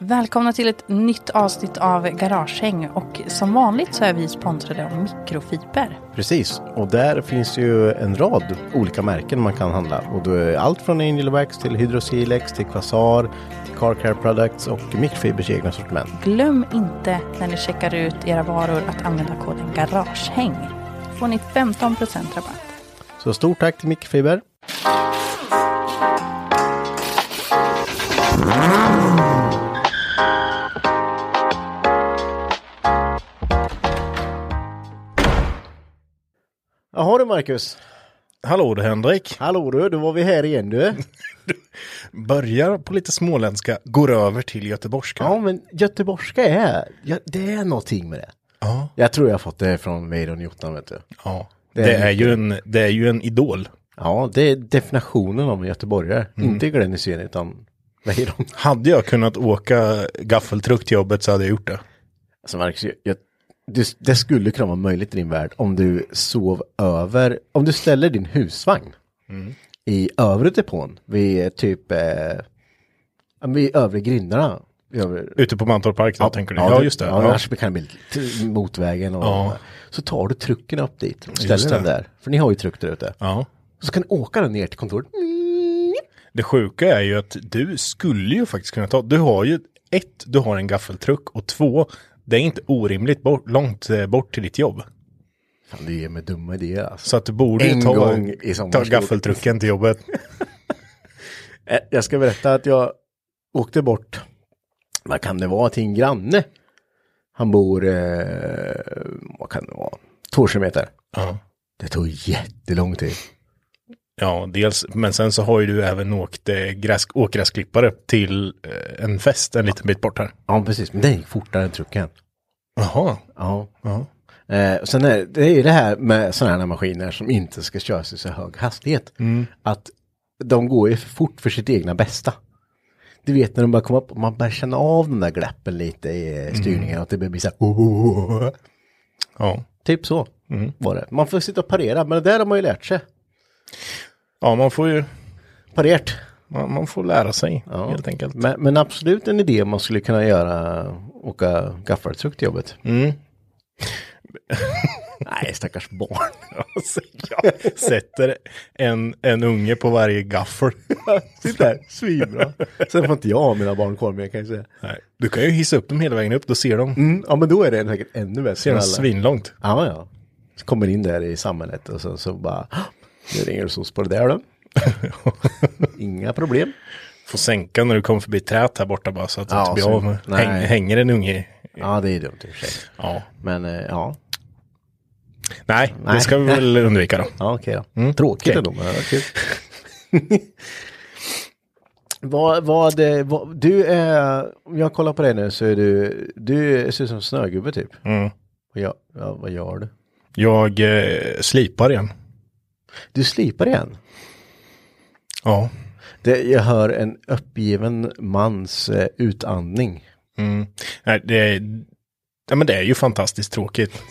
Välkomna till ett nytt avsnitt av Garagehäng och som vanligt så är vi sponsrade av mikrofiber. Precis, och där finns ju en rad olika märken man kan handla. Och då är allt från Angelwax till Hydrosilex till Quasar, till Car Care Products och Mikrofibers egna sortiment. Glöm inte när ni checkar ut era varor att använda koden Garagehäng. Då får ni 15% rabatt. Så stort tack till Mikrofiber. Jaha du Marcus. Hallå du Henrik. Hallå du, då var vi här igen du. Börjar på lite småländska, går över till göteborgska. Ja men göteborgska är, ja, det är någonting med det. Ja. Jag tror jag har fått det från Weiron Jottan vet du. Ja. Det Det, är är ju en, det är ju en idol. Ja, det är definitionen av en göteborgare. Mm. Inte Glenn Hysén utan Weiron. Hade jag kunnat åka gaffeltruck till jobbet så hade jag gjort det. Alltså Marcus, jag, jag, det, det skulle kunna vara möjligt i din värld om du sov över, om du ställer din husvagn Mm. i övre depån vid typ, eh, ja, men vid övre grindarna. Vid övre- Ute på Mantorp Park, ja, tänker du? Ja, just det. Ja, Ja. Annars kan det bli lite till motvägen och Ja. så tar du trucken upp dit och Just ställer den det. där. För ni har ju truck där ute. Ja. Så kan du åka den ner till kontoret. Det sjuka är ju att du skulle ju faktiskt kunna ta, du har ju ett, du har en gaffeltruck och två, det är inte orimligt bort, långt eh, bort till ditt jobb. Fan, det ger mig dumma idéer alltså. Så att du borde En ju ta, gång i ta sommarskog. gaffeltrucken till jobbet. Eh, Jag ska berätta att jag åkte bort, vad kan det vara, till en granne. Han bor, eh, vad kan det vara, 2 kilometer. Ja. Det tog jättelång tid. Ja, dels, men sen så har ju du även åkt eh, gräs, åkgräsklippare till eh, en fest en liten bit bort här. Ja, precis, men den gick fortare än trucken. Jaha. Ja. Ja. Eh, sen är det är ju det här med sådana här maskiner som inte ska köras i så hög hastighet. Mm. Att de går ju för fort för sitt egna bästa. Du vet när de börjar komma upp, man börjar känna av den där glappen lite i eh, Mm. styrningen. Att det blir så här, oh, oh, oh, oh. Ja. Mm. Typ så var det. Man får sitta och parera, men det där har man ju lärt sig. ja, man får ju Parerat. man, man får lära sig Ja. helt enkelt. Men, men absolut en idé om man skulle kunna göra, åka gaffeltruck till jobbet. Mm. Nej, stackars barn. Alltså, jag sätter en, en unge på varje gaffel. Titta här, svinbra. Sen får inte jag ha mina barn kvar, men jag kan ju säga. Nej. Du kan ju hissa upp dem hela vägen upp, då ser de. Mm, ja, men då är det säkert ännu bättre. Ser än de alla. svinlångt. Ja, ja. Så kommer in där i samhället och sen så bara, "Ah, nu ringer det SOS på det där då. Inga problem. Får sänka när du kommer förbi trät här borta bara så att du Ja, inte blir så- av med. nej. Häng, hänger en unge i- Ja, det är dumt i och för sig. Ja. Men eh, ja, Nej, det Nej. ska vi väl undvika då. ja Mm. okej då. Tråkigt Okej. ändå, men det var kul. vad, vad, eh, vad, du är, om jag kollar på dig nu så är du, du ser ut som en snögubbe typ. Mm. Och jag, ja, vad gör du? Jag eh, slipar igen. Du slipar igen. Ja. Det, jag hör en uppgiven mans eh, utandning. Mm. Nej, det är, ja, men det är ju fantastiskt tråkigt.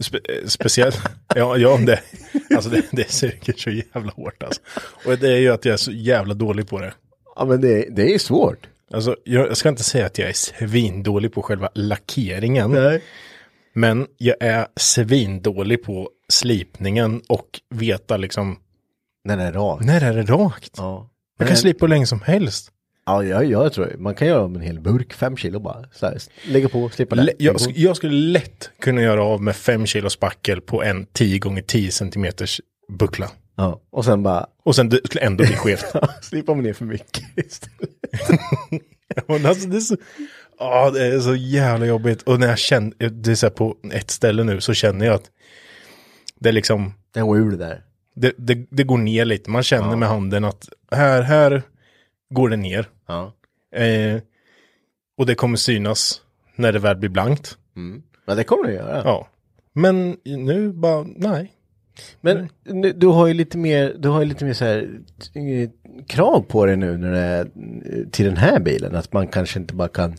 Spe, eh, speciellt, ja, ja det, alltså det, det suger så jävla hårt alltså. Och det är ju att jag är så jävla dålig på det. Ja men det, det är svårt. Alltså, jag, jag ska inte säga att jag är svindålig på själva lackeringen. Men jag är svindålig på slipningen och veta liksom, Den är rak. när är det rakt? Ja. Jag Men- kan slipa hur länge som helst. Ja, jag, jag tror man kan göra om en hel burk, fem kilo bara. Så här, lägga på, slippa Lä- det. Mm. Jag, sk- jag skulle lätt kunna göra av med 5 kilo spackel på en 10 gånger 10 centimeters buckla. Ja, och sen bara Och sen det skulle ändå bli skevt. slipar man ner för mycket istället. Men alltså, det, är så, Ja, det är så jävla jobbigt. Och när jag känner, det är så här på ett ställe nu så känner jag att det är liksom, Det går ur det där. det, det, det går ner lite. Man känner med handen att här, här går det ner. Ja. Eh, och det kommer synas när det väl blir blankt. Men det kommer du göra. Ja. Men nu bara, nej. Men nu, du har ju lite mer, du har ju lite mer så här eh, krav på dig nu när det är eh, till den här bilen. Att man kanske inte bara kan, äh,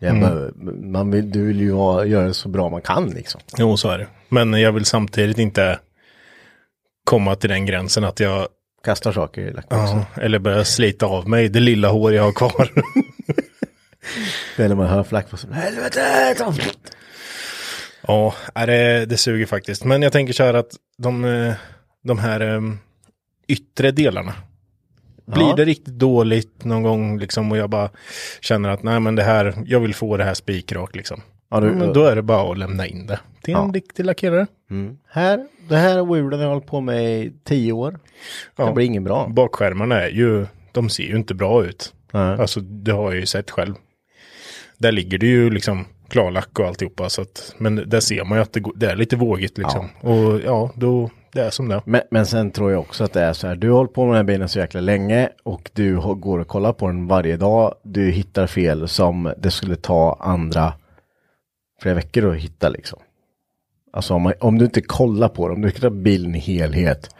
jag bara, man vill, du vill ju ha, göra det så bra man kan liksom. Jo, så är det. Men jag vill samtidigt inte komma till den gränsen att jag, Kastar saker i lacken också. ja, eller börja slita av mig det lilla hår jag har kvar. Det är när man hör flack på så helvete! ta- ja, är det, det suger faktiskt. Men jag tänker så här att de, eh, de här em, yttre delarna, blir Ja. det riktigt dåligt någon gång liksom och jag bara känner att nej men det här, jag vill få det här spikrakt liksom. Ja, du, Men då är det bara att lämna in det till en Ja. riktig lackerare. Mm. Här, det här hjulen har jag hållit på med i tio år. Ja. Det blir ingen bra. Bakskärmarna är ju, de ser ju inte bra ut. Nej. Alltså det har jag ju sett själv. Där ligger det ju liksom klarlack och alltihopa. Så att, men där ser man ju att det, går, det är lite vågigt liksom. Och ja, då, det är som det är. Men, men sen tror jag också att det är så här, du har hållit på med den här bilen så jäkla länge och du har- går och kollar på den varje dag. Du hittar fel som det skulle ta andra flera veckor att hitta liksom. Alltså om, man, om du inte kollar på den, om du hittar bilen i helhet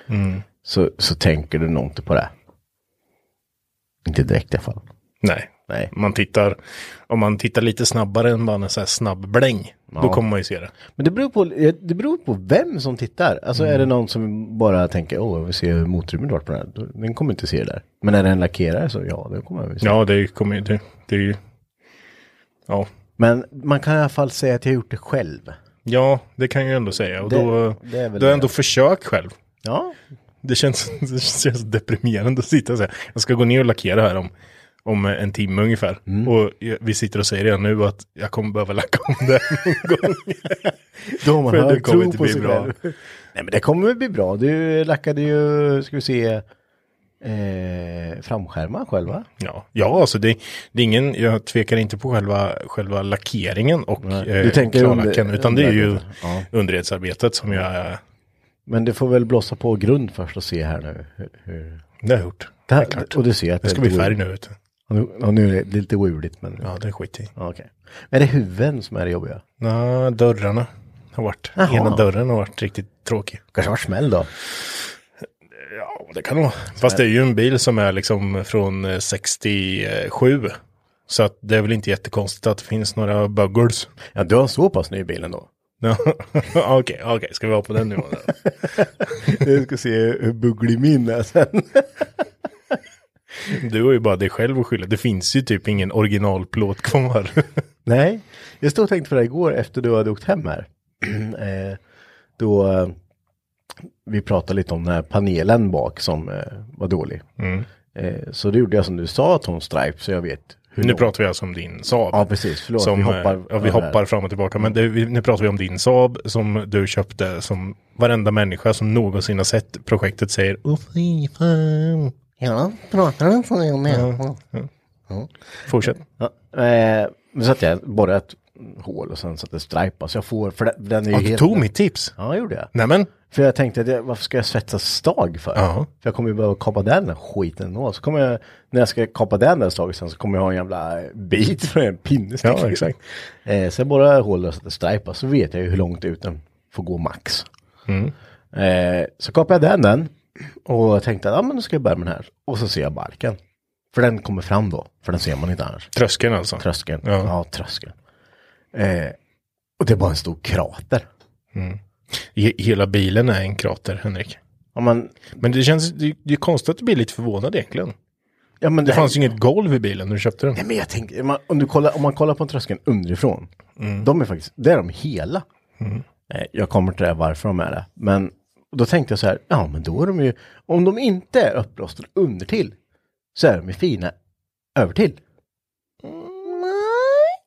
så, så tänker du nog inte på det. Inte direkt i alla fall. Nej. Nej. Man tittar, om man tittar lite snabbare än bara en så här snabb bläng, då Ja. kommer man ju se det. Men det beror på, det beror på vem som tittar. Alltså är det någon som bara tänker, åh, jag vill se hur motorrummet varit på den här. Då- Den kommer inte se det där. Men är det en lackerare så ja, den kommer jag väl se. Ja, det kommer ju, det, det är ju, ja. Men man kan i alla fall säga att jag har gjort det själv. Ja, det kan jag ju ändå säga. Och Det- då, det är väl då har jag det. ändå försökt själv. Ja. Det känns, det känns så deprimerande att sitta och säga, jag ska gå ner och lackera här om, om en timme ungefär. Mm. Och jag- vi sitter och säger redan nu att jag kommer behöva lacka om det någon gång. Då har man För det hög kommer tro inte på bli sig bra. själv. Nej men det kommer väl bli bra. Du lackade ju, ska vi se, eh, framskärmar själv va? Ja, ja alltså det, det är ingen, jag tvekar inte på själva, själva lackeringen och Du eh, tänker klarlacken, under- utan det är ju Ja. underredsarbetet som jag, Men du får väl blåsa på grund först och se här nu. Hur, hur. det har jag gjort. Det är klart. här, och du ser att Det ska är bli lite färg wul- nu vet du. Ja, nu. Ja, nu är det lite wuligt men. Ja, det är skit i. Ja, Okej. Är det huvuden som är det jobbiga? Nå, dörrarna har varit, Jaha. ena dörren har varit riktigt tråkig. Kanske var smäll då? Ja, det kan det vara. Fast det är ju en bil som är liksom från eh, 67. Så att det är väl inte jättekonstigt att det finns några buggles. Ja, du har så pass ny bil ändå. Ja, Okej, okej, ska vi vara på den nivån? då? Jag ska se hur bugglig min är sen. Du har ju bara dig själv att skylla. Det finns ju typ ingen originalplåt kvar. Nej, jag stod och tänkte på det här igår efter du hade åkt hem här. eh, då eh, vi pratade lite om den här panelen bak som eh, var dålig. Eh, så det gjorde jag som du sa att hon stripe så jag vet. Hur nu lång- pratar vi alltså om din Saab. Ja, precis. Förlåt, som, vi eh, hoppar ja, vi över här. hoppar fram och tillbaka. Men det, vi, nu pratar vi om din Saab som du köpte. Som varenda människa som någonsin har sett projektet säger. Åh fy fan. Ja, pratar du så jag Ja. Fortsätt. Ja, eh, men så att jag borrade ett hål och sen satte strajpa så jag får, för den, den är ju Ja, du helt... tog mitt tips. Ja, det gjorde jag. Nämen. För jag tänkte, att jag, varför ska jag svetsa stag för? Ja. För jag kommer ju behöva kapa den där skiten ändå. Så kommer jag, när jag ska kapa den där staget sen så kommer jag ha en jävla bit från en pinne. Ja, exakt. Eh, så jag borrar hål och sätter strajpa så vet jag ju hur långt ut den får gå max. Mm. Eh, så kapar jag den den och tänkte att ah, men nu ska jag börja med den här. Och så ser jag barken. För den kommer fram då, för den ser man inte annars. Tröskeln alltså. Tröskeln. Ja, Ja. tröskeln. Eh, och det är bara en stor krater. He- Hela bilen är en krater, Henrik. Ja, men, Men det känns, det, det är konstigt att du blir lite förvånad egentligen. ja, men Det fanns ju inget golv i bilen när du köpte den. Nej men jag tänker, man, om, du kollar, om man kollar på tröskeln underifrån. De är faktiskt, där är de hela. Eh, Jag kommer till det här varför de är det. Men då tänkte jag så här, ja men då är de ju, om de inte är uppblåsta undertill. Så är de ju fina övertill. Mm, Nej,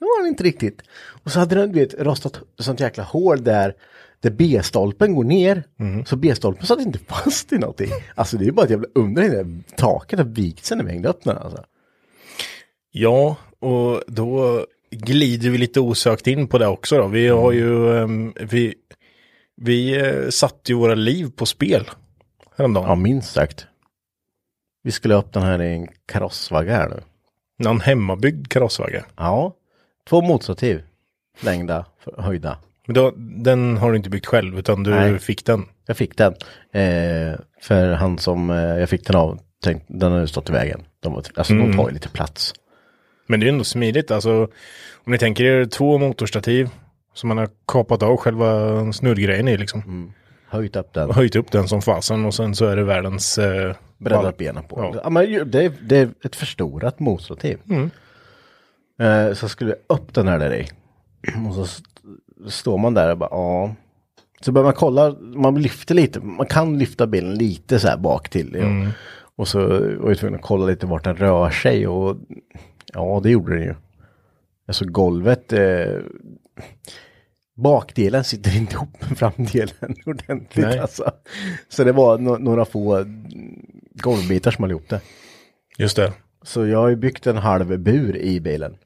det var den inte riktigt. Och så hade den, du vet, rostat sånt jäkla hål där. Där B-stolpen går ner, så B-stolpen satt inte fast i någonting. Alltså det är ju bara ett jävla under i det där taket har vikt sig när vi hängde upp den alltså. Ja, och då glider vi lite osökt in på det också då. Vi har ju, ehm, vi, vi eh, satte ju våra liv på spel häromdagen. Ja, minst sagt. Vi skulle upp den här i en karossvagga här nu. Någon hemmabyggd karossvagga. Ja, två motstativ. Längda, för- höjda. Men då, den har du inte byggt själv, utan du Nej. fick den. Jag fick den. Eh, för han som eh, jag fick den av, tänk, den har ju stått i vägen. De, var- alltså de tar ju lite plats. Men det är ju ändå smidigt, alltså. Om ni tänker er två motorstativ som man har kapat av själva snurrgrejen i liksom. Höjt upp den, Och höjt upp den som fasen och sen så är det världens... Eh, breddat ball- benen på. Ja. Mm. Ja. men ju- det, är, det är ett förstorat motstativ. Eh, så skulle jag upp den här där i. Och så st- står man där och bara, ja. Så börjar man kolla, man lyfter lite, man kan lyfta bilen lite så här bak till. ja. Mm. Och så var jag tvungen att kolla lite vart den rör sig och ja, det gjorde den ju. Alltså golvet, eh, bakdelen sitter inte ihop med framdelen ordentligt Nej. alltså. Så det var no- några få mm, golvbitar som höll ihop det. Just det. Så jag har ju byggt en halv bur i bilen,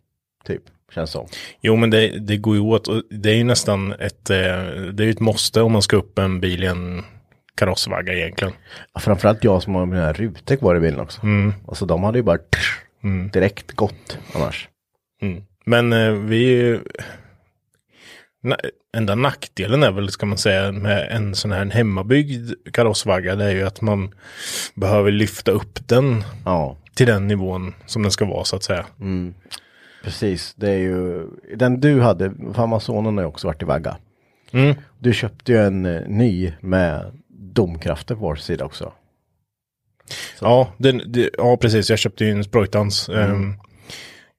typ, känns som. Jo, men det, det går ju åt. Och det är ju nästan ett, eh, det är ju ett måste om man ska upp en bil i en karossvagga egentligen. Ja, Framförallt jag som har mina rutor kvar i bilen också. Alltså de hade ju bara tsch, direkt gått annars. Men eh, vi är ju... Na, enda nackdelen är väl, ska man säga, med en sån här hemmabyggd karossvagga, det är ju att man behöver lyfta upp den Ja, till den nivån som den ska vara, så att säga. precis. Det är ju den du hade, för Amazonen har ju också varit i vagga. Mm. Du köpte ju en eh, ny med domkrafter på vår sida också. Ja, den, det, ja, precis. Jag köpte ju en sprojtans. ehm,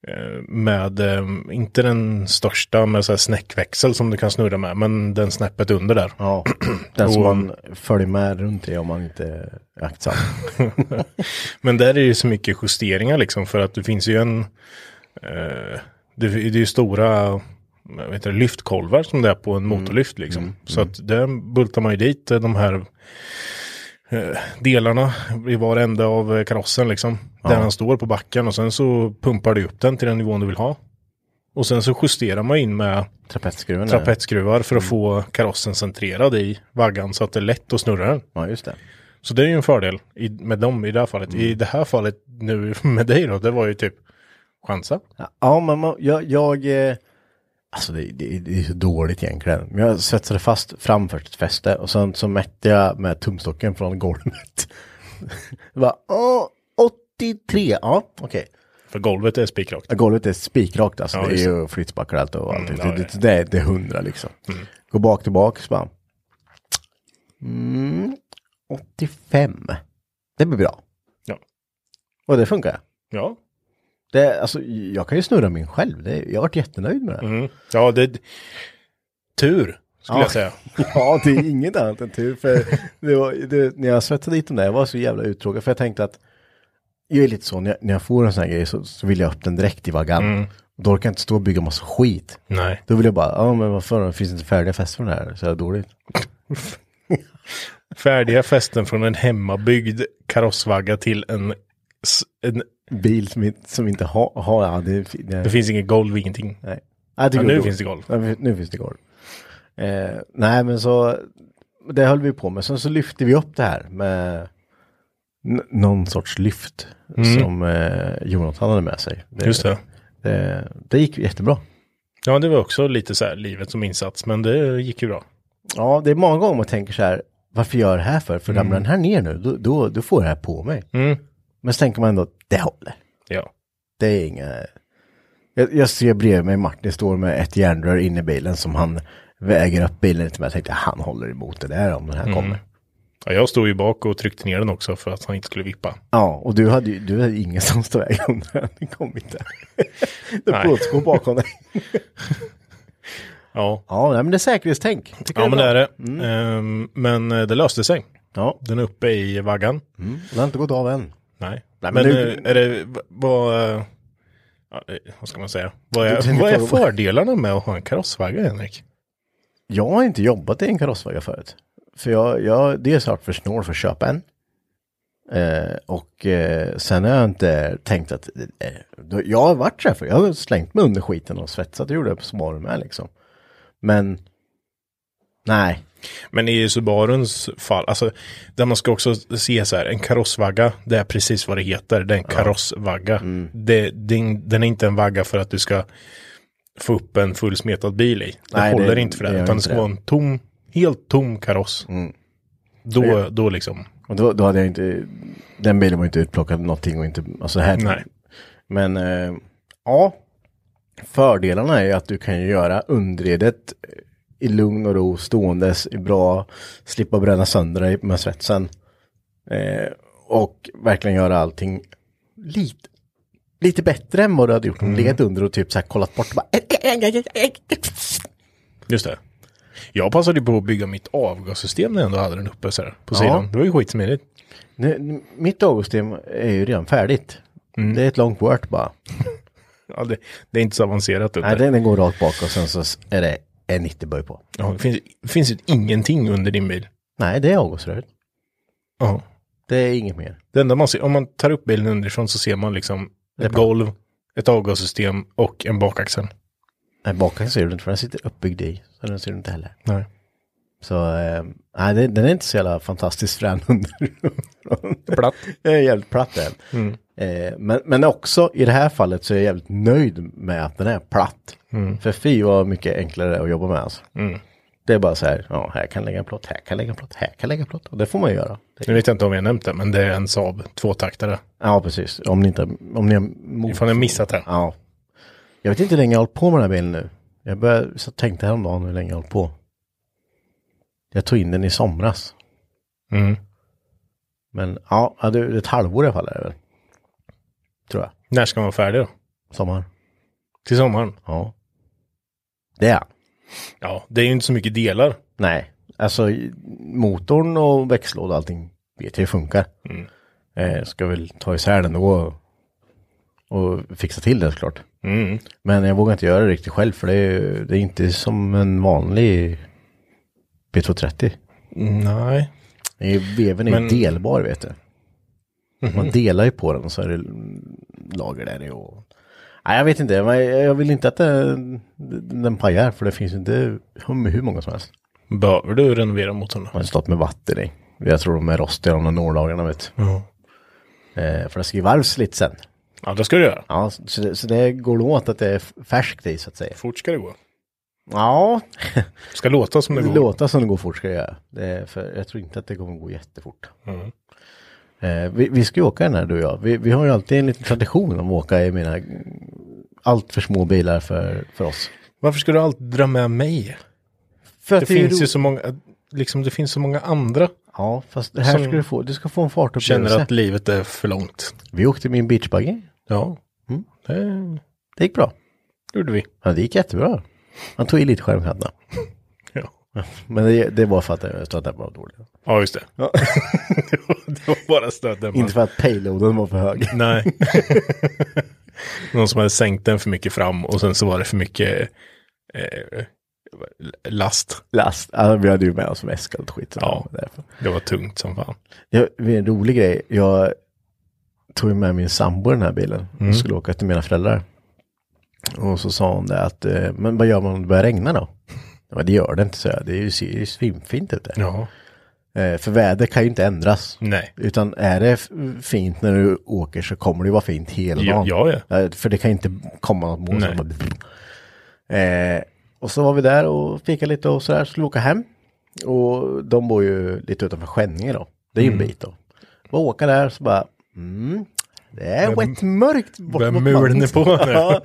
eh, med, ehm, inte den största med så här snäckväxel som du kan snurra med, men den snäppet under där. Ja, den som Och- man följer med runt i om man inte är aktsam. Men där är ju så mycket justeringar liksom för att det finns ju en, eh, det, det är ju stora vad heter det, lyftkolvar som det är på en motorlyft liksom. så att där bultar man ju dit eh, de här eh, delarna i var ände av eh, karossen liksom. Där den står på backen och sen så pumpar du upp den till den nivån du vill ha. Och sen så justerar man in med Trapetsskruven. är- trapetsskruvar för att få karossen centrerad i vaggan så att det är lätt att snurra den. Ja, just det. Så det är ju en fördel i, med dem i det här fallet. I det här fallet nu med dig då, det var ju typ chansa. Ja, men man, jag, jag... eh, Alltså det, det, det är så dåligt egentligen. Men jag svetsade fast framför ett fäste och sen så mätte jag med tumstocken från golvet. Det var åh, 83, ja okej. För golvet är spikrakt. Golvet är spikrakt alltså. Ja, det är just Mm, ju flytspackel och allt och allting. ja, Mm. det, det, det, är- det är hundra liksom. Gå bak tillbaka så bara. Mm, 85. Det blir bra. Ja. Och det funkar. Ja, Det, alltså, jag kan ju snurra min själv. Det, jag har varit jättenöjd med det. mm. ja det... Tur, skulle Ja. jag säga. Ja, det är inget annat än tur. För det var, det, när jag svettade dit den där, jag var så jävla uttråkad. För jag tänkte att, jag är lite så, när jag, när jag får en sån här grej så, så vill jag upp den direkt i vaggan. Mm. Då orkar jag inte stå och bygga massa skit. Nej. Då vill jag bara, ja men varför finns det inte färdiga fästen här? Så är det dåligt. Färdiga fästen från en hemmabyggd karossvagga till en, s- en Bil som inte, som inte har, har ja, det, det, det finns inget golv, ingenting. Nej. Jag tycker Ja, nu det är finns det dåligt. golv. Ja, nu- nu finns det golv. Eh, nej, men så det höll vi på med. Sen så lyfte vi upp det här med n- någon sorts lyft som eh, Jonathan hade med sig. Det, Mm. Just det. det. Det gick jättebra. Ja, det var också lite så här livet som insats, men det gick ju bra. Ja, det är många gånger man tänker så här, varför gör jag det här för? För ramlar den här ner nu, då, då, då får jag det här på mig. Mm. Men så tänker man ändå, det håller. Ja. Det är inga... Jag, jag ser bredvid mig Martin står med ett järnrör inne i bilen som han väger upp bilen lite med. Jag tänkte, han håller emot det där om den här Mm. kommer. ja, jag stod ju bak och tryckte ner den också för att han inte skulle vippa. Ja, och du hade ju du hade ingen som stod i vägen om den kom inte. Det Nej. plåtskor bakom dig. Ja, Ja, nej, men det är säkerhetstänk. Tycker ja jag men det bra. är det. Ehm, men eh, det löste sig. Ja, Den är uppe i vaggan. mm. den har inte gått av än. Nej. Nej, men men nu- eh, är det, v- vad, eh, ja, eh, vad ska man säga? Vad Du är, tänker vad är på- fördelarna med att ha en karossvagga, Henrik? Jag har inte jobbat i en karossvagga förut. För jag, jag dels har varit för snål för att köpa en. Eh, och eh, sen har jag inte tänkt att, eh, då- jag har varit så här för jag har slängt mig under skiten och svetsat och gjorde det på smårum med liksom. Men, nej, Men i Subaruns fall, alltså, där man ska också se så här, en karossvagga, det är precis vad det heter, det är en karossvagga. Mm. Det, det, är in- den är inte en vagga för att du ska få upp en fullsmetad bil i. Det Nej, det- håller inte för det det, gör utan det inte Mm. ska det. vara en tom, helt tom kaross. Då, då liksom, och då, då hade jag inte, den bilen var inte utplockad någonting och inte, alltså här. nej. Men, eh, ja, fördelarna är ju att du kan ju göra underredet eh, i lugn och ro, ståendes, i bra, slippa bränna sönder dig med svetsen. Eh, och verkligen göra allting lite, lite bättre än vad du hade gjort om du Mm. legat under och typ så här kollat bort och bara, Just det. Jag passade ju på att bygga mitt avgassystem när jag ändå hade den uppe så här, på sidan. Det var ju skitsmidigt. nu, nu- Mitt avgassystem är ju redan färdigt. Mm. Det är ett långt word bara. Ja, det, det är inte så avancerat. Nej, Nej, den, den går rakt bak och sen så är det en 90-böj på. ja, det finns, finns ju ingenting under din bil. Nej, det är avgasröret. Ja. Det är inget mer. Det enda man ser, om man tar upp bilen underifrån så ser man liksom ett golv, ett avgassystem och en bakaxel. Nej, bakan ser du inte för den sitter uppbyggd i. Så den ser du inte heller. Nej. Så eh, nej, den, den är inte så jävla fantastiskt frän under. platt. Den är jävligt platt den. Eh, men, men också i det här fallet så är jag jävligt nöjd med att den är platt. För fy vad mycket enklare det är att jobba med alltså. Det är bara så här, ja, här kan jag lägga en plåt, här kan jag lägga en plåt, här kan jag lägga en plåt. Och det får man ju göra. Det, Nu vet jag inte om jag nämnt det, men det är en Saab tvåtaktare. ja, precis. Om ni inte, om ni har mot- Ifall jag missat det. Ja. Jag vet inte hur länge jag har hållit på med den här bilen nu. Jag började, så tänkte häromdagen hur länge jag har hållit på. Jag tog in den i somras. Mm. Men ja, ja, det är ett halvår i alla fall är det väl. Tror jag. När ska man vara färdig då? Sommar. Till sommaren? Ja. Det är han. Ja, det är ju inte så mycket delar. Nej, alltså i- motorn och växellåda och allting vet jag hur funkar. Mm. Eh, ska väl ta isär den då och, och fixa till den såklart. Mm. Men jag vågar inte göra det riktigt själv för det är, det är inte som en vanlig B230. Nej. Det är- Veven är Men- Mhm. delbar vet du. Man delar ju på den och så är det lager där i och... Nej jag vet inte, men jag jag vill inte att den, den pajar för det finns ju inte hur hur många som helst. Behöver du renovera motorn då? Man har stått med vatten i. Jag tror de är rostiga de där nåldagarna vet du. Ja. Eh, för det ska ju varvs lite sen. Ja, det ska du göra. Ja, så det, så det går åt att det är f- färskt i så att säga. Fort ska det gå. Ja, Ska låta som det Det går. låta som det går fort ska jag göra. Det är för jag tror inte att det kommer gå jättefort. Mm. Eh, vi, vi ska ju åka den här du och jag. Vi, vi har ju alltid en liten tradition om att åka i mina mm, allt för små bilar för, för oss. Varför ska du alltid dra med mig? För Det är finns ju roligt. så många, liksom det finns så många andra. Ja, fast det här som- ska du få. Du ska få en fartupplevelse. Känner att livet är för långt. Vi åkte min beachbuggy. Mm. Ja. Det Det gick bra. gjorde vi. Ja, det gick jättebra. Man tog i lite skärmkanterna. Ja, Men det, det var för att eh, jag stod där bara dåligt. ja just det. det, var, det var bara stötdämparen. Inte för att payloaden var för hög. Nej. Någon som hade sänkt den för mycket fram och sen så var det för mycket eh, last. Last, alltså, vi hade ju med oss väska och skit. Ja. Därför. Det var tungt som fan. Jag, det är en rolig grej. Jag tog ju med min sambo i den här bilen Mm. och skulle åka till mina föräldrar. Och så sa hon det att, eh, men vad gör man om det börjar regna då? Ja, det gör det inte, så jag. Det är ju, ser ju svinfint ute. Ja. Eh, För väder kan ju inte ändras. Nej. Utan är det f- fint när du åker så kommer det ju vara fint hela Ja, dagen. ja, ja. Eh, För det kan inte komma något moln. Nej. som bara- Eh, och så var vi där och fikade lite och sådär, skulle åka hem. Och de bor ju lite utanför Skänninge då. Det är ju en Mm. bit då. Och åka där så bara, mm, det är Börjar- rätt mörkt bort börjar mot mulen landet. på nu. Ja.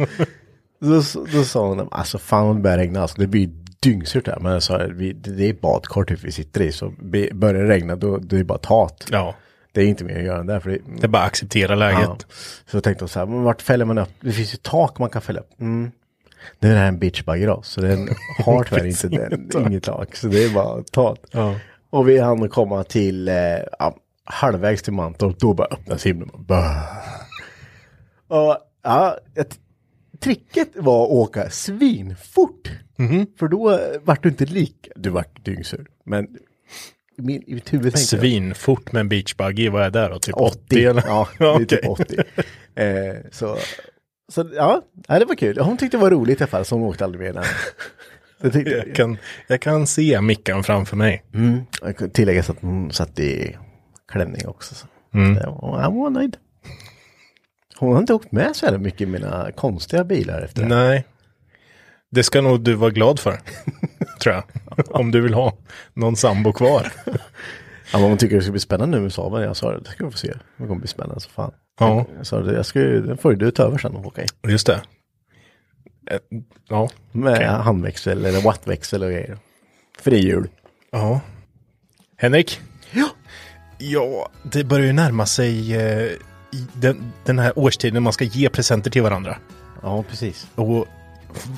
då, då sa hon, alltså fan om det börjar regna, alltså, det blir dyngsurt här. Men jag sa, vi, det det är ett badkar typ vi sitter i, så be- börjar det regna då, då är det bara tat. Ja. Det är inte mer att göra än det, här, för det, Det är bara att acceptera Ja. läget. Så jag tänkte så här, men vart fäller man upp? Det finns ju tak man kan fälla upp. Mm. Nu är det här en beachbugger då, så den har tyvärr inte den, inget tak. Så det är bara tak. Ja. Och vi hann komma till, eh, ja, halvvägs till Mantorp, då bara öppnas himlen. Bara, bäh. och ja, ett, tricket var att åka svinfort. För då eh, vart du inte lika, du vart dyngsur. Men i, min, i mitt huvud tänkte jag, Svinfort med en beachbuggy, vad är det då? Typ 80? 80. eller? Ja, det är typ okej. 80. Eh, så, så ja, nej, det var kul. Hon tyckte det var roligt i alla fall, så hon åkte aldrig mer den. Det tyckte Jag kan, jag kan se Mickan framför mig. jag. kan Tilläggas att hon satt i klänning också. Så. Det var- Hon var nöjd. Hon har inte åkt med så här mycket i mina konstiga bilar efter det. Nej. Det ska nog du vara glad för. tror jag. Om du vill ha någon sambo kvar. Ja, men hon tycker det ska bli spännande nu med Saaben. Jag sa det, det ska du få se. Det kommer bli spännande så fan. Ja. Jag sa det, jag ska ju, den får ju du ta över sen och åka i. Just det. Eh, Ja. Med handväxel eller wattväxel och grejer. Frihjul. Ja. Henrik? Ja. Ja, det börjar ju närma sig eh, i den, den här årstiden man ska ge presenter till varandra. Ja, precis. Och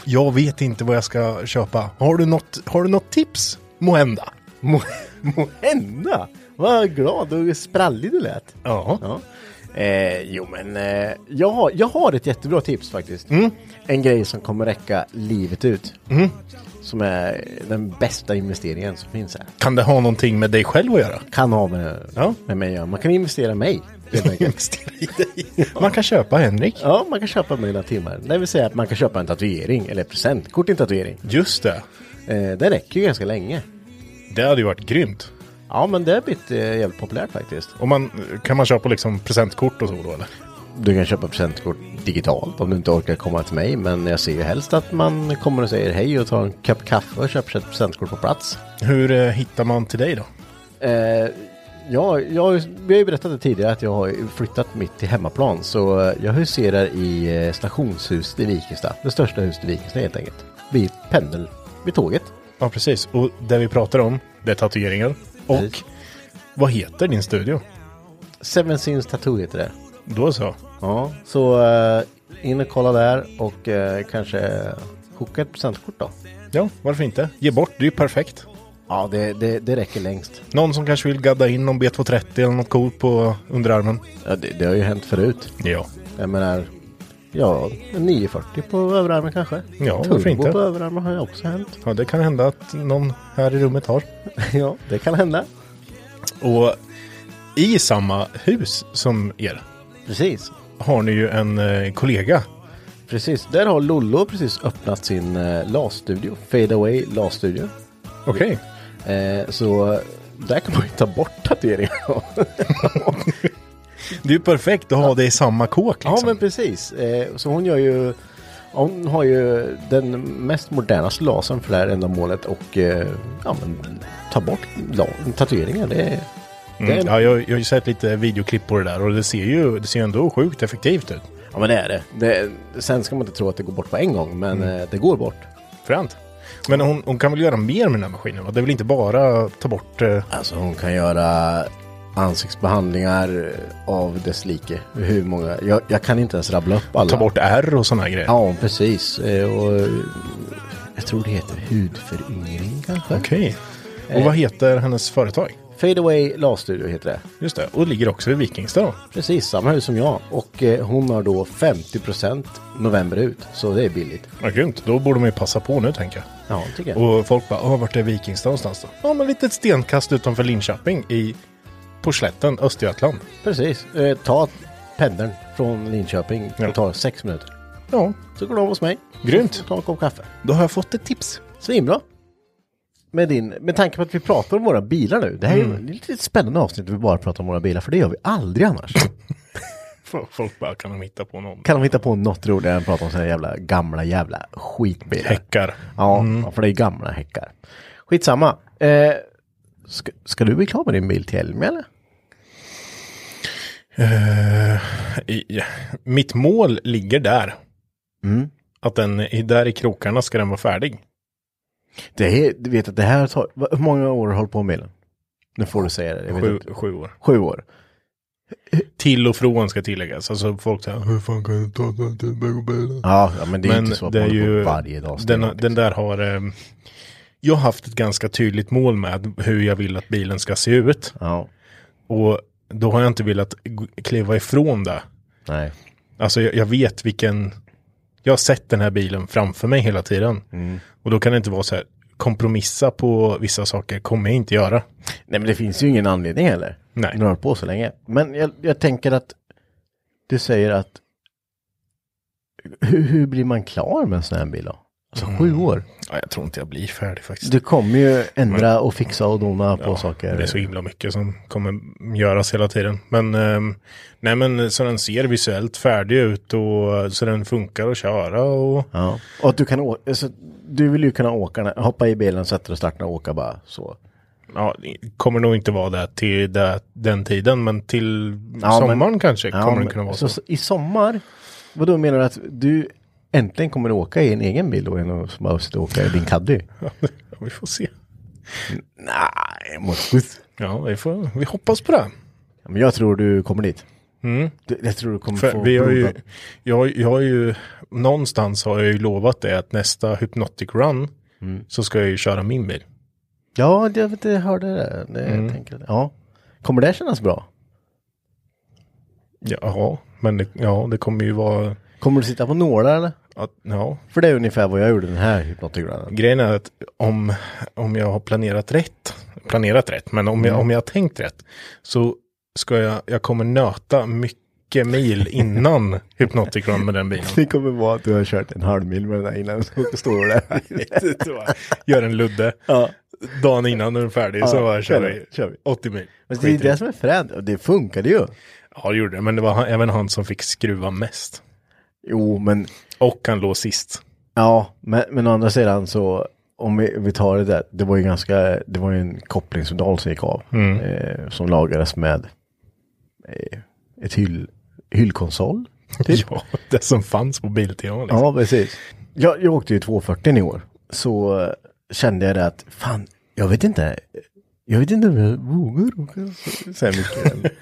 jag vet inte vad jag ska köpa. Har du något, har du något tips? Måhända. Må, må hända? Vad glad och sprallig du lät. Ja. Ja. Eh, jo men eh, jag, har, jag har ett jättebra tips faktiskt. Mm. En grej som kommer räcka livet ut. Som är den bästa investeringen som finns här. Kan det ha någonting med dig själv att göra? Kan ha med, Ja. med mig att göra. Man kan investera i mig helt enkelt. Investera i dig. Man kan köpa Henrik. Ja, man kan köpa mina timmar. Det vill säga att man kan köpa en tatuering eller ett presentkort till en tatuering. Just det. Eh, det räcker ju ganska länge. Det hade ju varit grymt. Ja, men det har blivit eh, jävligt populärt faktiskt. Och man, kan man köpa liksom presentkort och så då eller? Du kan köpa presentkort digitalt om du inte orkar komma till mig. Men jag ser ju helst att man kommer och säger hej och tar en kopp kaffe och köper ett presentkort på plats. Hur eh, hittar man till dig då? Eh, ja, jag, har ju- vi har ju berättat det tidigare att jag har ju flyttat mitt till hemmaplan. Så eh, jag huserar i eh, stationshuset i Vikingstad. Det största huset i Vikingstad helt enkelt. Vid pendel, vid tåget. Ja, precis. Och det vi pratar om, det är tatueringar. Och Precis. vad heter din studio? Seven Sins Tattoo heter det. Då så. Ja, så eh, in och kolla där och eh, kanske koka ett presentkort då. Ja, varför inte? Ge bort, det är ju perfekt. Ja, det, det, det räcker längst. Någon som kanske vill gadda in någon B230 eller något coolt på underarmen. Ja, det, det har ju hänt förut. Ja. Jag menar, ja, en 940 på överarmen kanske. Ja, varför Turbo inte? på överarmen har ju också hänt. Ja, det kan hända att någon här i rummet har. ja, det kan hända. Och i samma hus som er Precis. har ni ju en eh, kollega. Precis, där har Lollo precis öppnat sin eh, LAS-studio, Fade Away LAS-studio. Okej. Eh, så där kan man ju ta bort tatueringarna. Det är ju perfekt att ha det i samma kåk liksom. ja, men precis. Eh, så hon gör ju, hon har ju den mest modernaste lasern för det här ändamålet och eh, ja, men ta bort la- tatueringar. Det, är- det är Mm, ja, jag, jag har ju sett lite videoklipp på det där och det ser ju det ser ju ändå sjukt effektivt ut. Ja men det är det. det. Sen ska man inte tro att det går bort på en gång, men eh, det går bort. Fränt. Men hon, hon kan väl göra mer med den här maskinen? Va? Det är väl inte bara ta bort... Eh, Alltså hon kan göra ansiktsbehandlingar eh, av dess like. Hur många? Jag, jag kan inte ens rabbla upp alla. ta bort ärr och sådana grejer? Ja, precis. Eh, Och eh, jag tror det heter hudföryngring kanske. Okej. Och vad heter hennes företag? Fade Away LAS-studio heter det. Just det, och ligger också i Vikingstad då. Precis, samma hus som jag. Och eh, hon har då 50% november ut. Så det är billigt. Ja, grymt. Då borde man ju passa på nu tänker jag. Ja, tycker jag. Och folk bara, "Åh, vart är Vikingstad någonstans då? Ja, men lite ett stenkast utanför Linköping i på slätten, Östergötland. Precis. Eh, ta pendeln från Linköping. Det Ja. tar sex minuter. Ja, Så går de hos mig. grymt. Ta en kopp kaffe. Då har jag fått ett tips. Svinbra. Med, din, med tanke på att vi pratar om våra bilar nu. Det här är Mm. ju ett lite spännande avsnitt där vi bara pratar om våra bilar. För det gör vi aldrig annars. Folk bara, kan de hitta på någon? kan de hitta på något roligare än att prata om sina jävla gamla jävla skitbilar. Häckar. Ja, Mm. för det är gamla häckar. Skitsamma. Eh, ska, ska du bli klar med din bil till Elmia eller? Eh, I, mitt mål ligger där. Att den, i- där i krokarna ska den vara färdig. Det är, du vet att det här tar, va- hur många år har du hållit på med bilen? Nu får du säga det. Jag vet Sju, inte. sju år. Sju år. Till och från ska tilläggas. Alltså folk säger, hur fan kan det ta sån tid med bilen? Ja, ja, men det är Men inte så att det man är håller ju, på varje dag. liksom. den, den där har, ehm, jag har haft ett ganska tydligt mål med hur jag vill att bilen ska se ut. Ja, Och då har jag inte velat g- kliva ifrån det. nej. Alltså jag, jag vet vilken, jag har sett den här bilen framför mig hela tiden. Mm. Och då kan det inte vara så här, kompromissa på vissa saker kommer jag inte göra. Nej, men det finns ju ingen anledning heller. Nej. När du har hållit på så länge. Men jag, jag tänker att du säger att hur, hur blir man klar med en sån här bil då? Alltså sju Mm. år. Ja, jag tror inte jag blir färdig faktiskt. Du kommer ju ändra och fixa och dona på Mm. ja, saker. Det är så himla mycket som kommer göras hela tiden. Men, ehm, nej, men så den ser visuellt färdig ut och så den funkar att köra och Ja. Och att du kan åka, alltså, du vill ju kunna åka, när- hoppa i bilen, sätta dig och starta och åka bara så. ja, det kommer nog inte vara där till där, den tiden, men till Ja, sommaren men- kanske Ja, kommer men- den kunna vara så. så, så. I sommar, vad då menar du att du äntligen kommer att åka i en egen bil då, än att bara sitta och åka i din Caddy? Ja, vi får se. Nej, måste- Ja, vi, får, vi hoppas på det. Ja, Men jag tror du kommer dit. Du- Jag tror du kommer få För vi har ju, blodad- jag, har- jag har ju, någonstans har jag ju lovat det att nästa Hypnotic Run Mm. så ska jag ju köra min bil. Ja, det, jag vet, jag hörde det. det jag tänker, att- ja. Kommer det kännas bra? Jaha, men det, ja, det kommer ju vara, Kommer du sitta på nålar eller? att, ja, För det är ungefär vad jag gjorde den här hypnotigrannen. Grejen är att om, om jag har planerat rätt, planerat rätt, men Mm. om jag, om jag har tänkt rätt, så ska jag, jag kommer nöta mycket mil innan Hypnotic Run med den bilen. Det kommer vara att du har kört en halv mil med den här innan så står du där. Gör en ludde. Ja. Dagen innan när den är färdig så Ja, bara kör kör vi. vi, kör vi. 80 mil. Men det är det som är fränt. Och Det funkade ju. Ja, det gjorde det. Men det var han, även han som fick skruva mest. Jo, men Och han låg sist. ja, men, men å andra sidan så om vi, vi tar det där. Det var ju ganska, det var ju en kopplingspedal som gick av. Eh, som lagades med eh, ett hyll, hyllkonsol. Typ. Ja, det som fanns på Biltema. Liksom. Ja, precis. Jag, jag åkte ju 240 i år. Så eh, kände jag det att fan, jag vet inte. Jag vet inte om jag vågar åka så- så här mycket.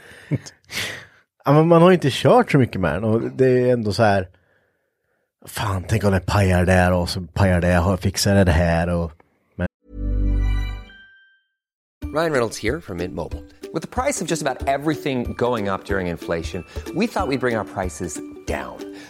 ja, men man har ju inte kört så mycket med den och det är ändå så här. Fan, tänk om det pajar där och så pajar det, har fixar jag det här och. Ryan Reynolds here from Mint Mobile. With the price of just about everything going up during inflation, we thought we'd bring our prices down.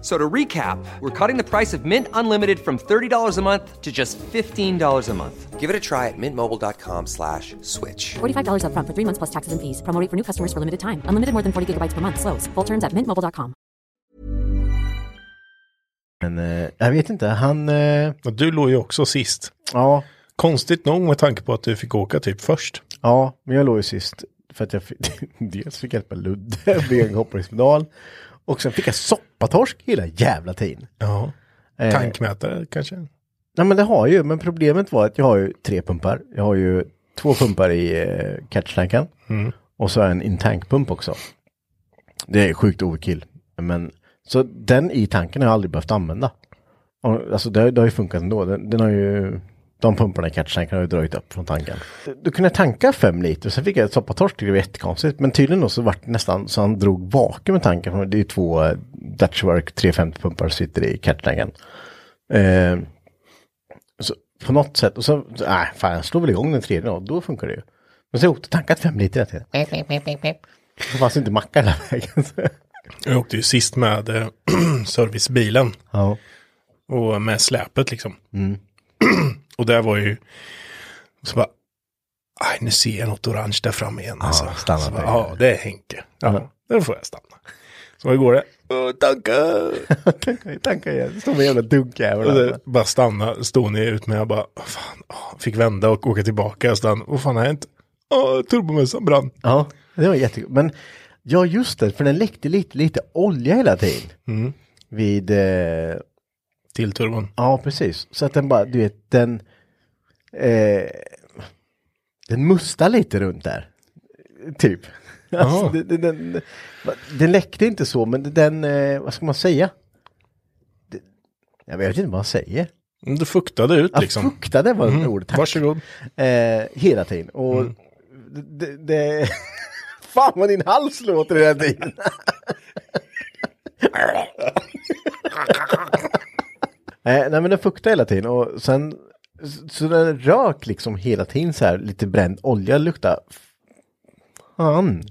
So to recap, we're cutting the price of Mint Unlimited from $30 a month to just $15 a month. Give it a try at mintmobile.com slash switch. $45 upfront for three months plus taxes and fees. Promo rate for new customers for limited time. Unlimited more than 40 gigabytes per month. Slows. Full terms at mintmobile.com. Men eh, jag vet inte, han, eh, Och Du låg ju också sist. ja, Konstigt nog med tanke på att du fick åka typ först. ja, men jag låg ju sist för att jag fick, dels fick hjälpa Ludde med en kopplingspedal Och sen fick jag soppatorsk hela jävla tiden. Ja. Eh, Tankmätare kanske? Nej men det har ju, men problemet var att jag har ju tre pumpar. Jag har ju två pumpar i eh, catchtanken. Och så har jag en intankpump också. Det är sjukt overkill. Men så den i tanken har jag aldrig behövt använda. Och, alltså det, har- det har ju funkat ändå. Den, den har ju, de pumparna i catchtanken har ju dragit upp från tanken. Då kunde jag tanka fem liter, sen fick jag ett soppatorsk, det var jättekonstigt. Men tydligen då så vart det nästan så han drog vakuum i tanken. Det är ju två eh, Dutchwork 350 pumpar som sitter i catchtanken. Eh, så, på något sätt, och så, så, nej, fan, jag slår väl igång den tredje och då funkar det ju. Men så har jag åkt och tankat fem liter hela tiden. Det fanns inte mackar hela vägen. så. Jag åkte ju sist med eh, servicebilen Ja. och med släpet liksom. och där var ju, så bara, aj nu ser jag något orange där framme igen. alltså. stanna så bara, där. ja, det är Henke. Ja, då får jag stanna. Så hur går det? "Åh, Tanka! Tankar- tankar igen, står med jävla dunkjävel. Och där. det, bara stanna, stod ni ut med, jag bara, "Åh, fan, åh." fick vända och åka tillbaka. Och stanna, vad fan har hänt? Åh, turbomössan brann. Ja, det var jättekul. Men ja, just det, för den läckte lite, lite olja hela tiden. Vid, eh, Till turbon. ja precis, så att den bara, du vet, den, eh, den mustar lite runt där. Typ. Alltså, Ja. det- det- den, den, den läckte inte så, men det- den, eh, vad ska man säga? Det- Jag vet inte vad man säger. Du fuktade ut Ja, liksom. Fuktade var mm. ordet. tack. Varsågod. Eh, hela tiden. Och det, det... Fan vad din hals låter hela tiden. eh, nej men den fuktade hela tiden och sen så- så den rök liksom hela tiden så här lite bränd olja lukta. Fan.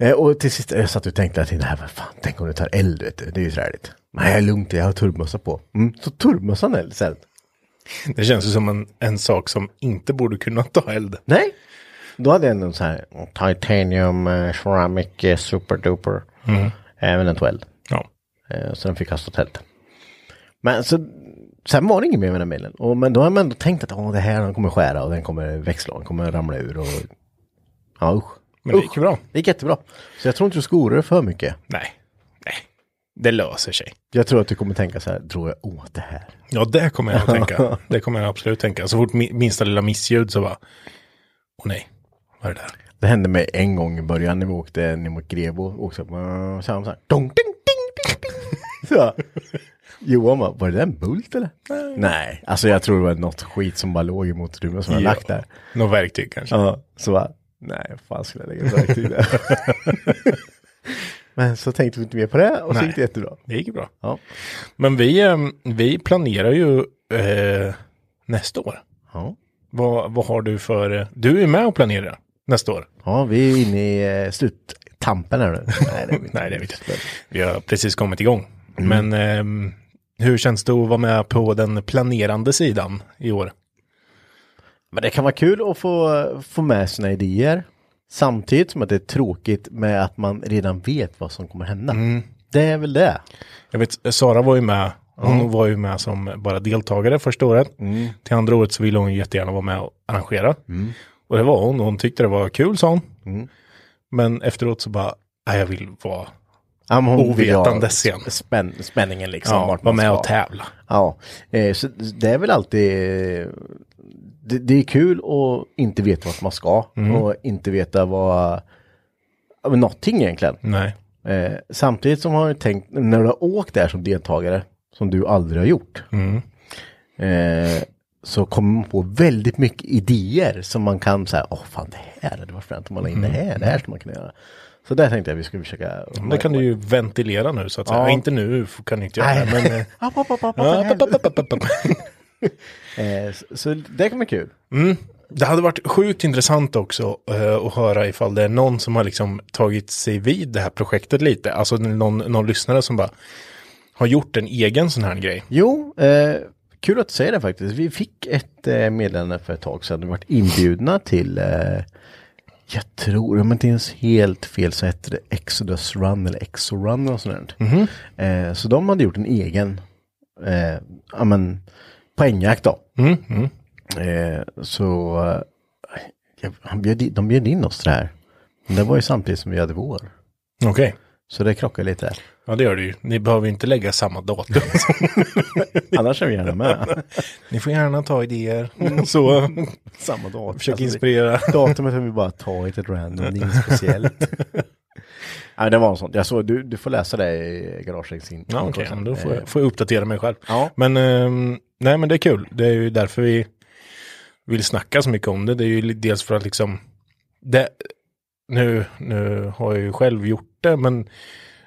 Eh, och till sist, jag satt och tänkte att det här, vad fan, tänk om det tar eld, vet du? det är ju träligt. Nej, jag är lugnt, jag har turbmössa på. Mm. Så turbmössan eld sen. Det känns ju som en, en sak som inte borde kunna ta eld. Nej. Då hade jag ändå så här mm, titanium, eh, ceramic, eh, super duper. Mm. Även den tog eld. Ja. Eh, Så den fick kasta tält. Men så, sen var det inget mer med den bilen. Och, men då har man ändå tänkt att åh, det här den kommer skära och den kommer växla och den kommer ramla ur. Och, ja usch. Men det gick ju bra. Det gick jättebra. Så jag tror inte du ska oroa dig för mycket. Nej. Nej. Det löser sig. Jag tror att du kommer tänka så här, drog jag åt det här? Ja, det kommer jag att tänka. Det kommer jag absolut tänka. Så fort mi- minsta lilla missljud så bara, åh nej, vad är det där? Det hände mig en gång i början när vi åkte ner mot Grebo. Åkte på, så här, så här, dong, ding, ding, ding, ding. Så, Johan bara, var det där en bult eller? Nej, alltså jag tror det var något skit som bara låg i motorrummet som jag Ja. lagt där. Något verktyg kanske. Ja, så bara, nej, vad fan skulle jag lägga ett verktyg där? Men så tänkte vi inte mer på det och så Nej. gick det jättebra. Det gick ju bra. Ja. Men vi, eh, vi planerar ju eh, nästa år. Ja. Vad, vad har du för, eh, du är med och planerar nästa år. ja, vi är inne i eh, sluttampen här nu. Nej, det är vi Nej, det är vi inte. Vi har precis kommit igång. Men ehm, hur känns det att vara med på den planerande sidan i år? Men det kan vara kul att få, få med sina idéer. Samtidigt som att det är tråkigt med att man redan vet vad som kommer hända. Det är väl det. Jag vet, Sara var ju med. Hon var ju med som bara deltagare första året. Till andra året så ville hon ju jättegärna vara med och arrangera. Och det var hon. Hon tyckte det var kul, sa hon. Men efteråt så bara, nej, jag vill vara, Ja, men hon vill ha Ovetandes igen. Spän, spänningen liksom. ja, vart vara man med ska. och tävla. Ja, eh, så det är väl alltid... eh, Det, det är kul att inte veta vart man ska och inte veta vad... ja, men Någonting egentligen. Nej. Eh, samtidigt som har jag tänkt, när du har åkt där som deltagare, som du aldrig har gjort, Mm. eh, så kommer man på väldigt mycket idéer som man kan säga, åh fan det här hade varit fränt om man la in det här, det här skulle man kunna göra. Så där tänkte jag vi skulle försöka. Men Mm. det kan du ju ventilera nu så att säga. Ja. Inte nu för- kan du inte göra Nej, det, men... eh, Hopp, hopp, hopp, hopp, ja, hopp, pop, pop, pop, pop, pop. Eh, så- Så det kan bli kul. Det hade varit sjukt intressant också eh, att höra ifall det är någon som har liksom tagit sig vid det här projektet lite. Alltså någon, någon lyssnare som bara har gjort en egen sån här grej. Jo, eh, kul att säga det faktiskt. Vi fick ett eh, meddelande för ett tag sedan. Vi varit inbjudna till, eh, jag tror, om jag inte ens helt fel så hette det Exodus Run eller Exo Run och sånt. där. Eh, så de hade gjort en egen eh, ja, men, poängjakt då. Mm. Eh, så eh, jag- han bjöd, i- de bjöd in oss till det här. Men det var ju samtidigt som vi hade vår. Okej. Så det krockar lite där. Ja, det gör det ju. Ni behöver ju inte lägga samma datum. Annars är vi gärna med. Ni får gärna ta idéer. Så, Samma datum. Mm. Alltså, försök det- inspirera. Datumet har vi bara tagit ett random, det är inget speciellt. Nej, det var en sån. Jag såg, du, du får läsa det i garaget. sin- Ja, okej, sen. men då får Eh, jag, får jag uppdatera mig själv. Ja. Men, ehm, nej, men det är kul. Det är ju därför vi vill snacka så mycket om det. Det är ju li- dels för att liksom, det, nu, nu har jag ju själv gjort det, men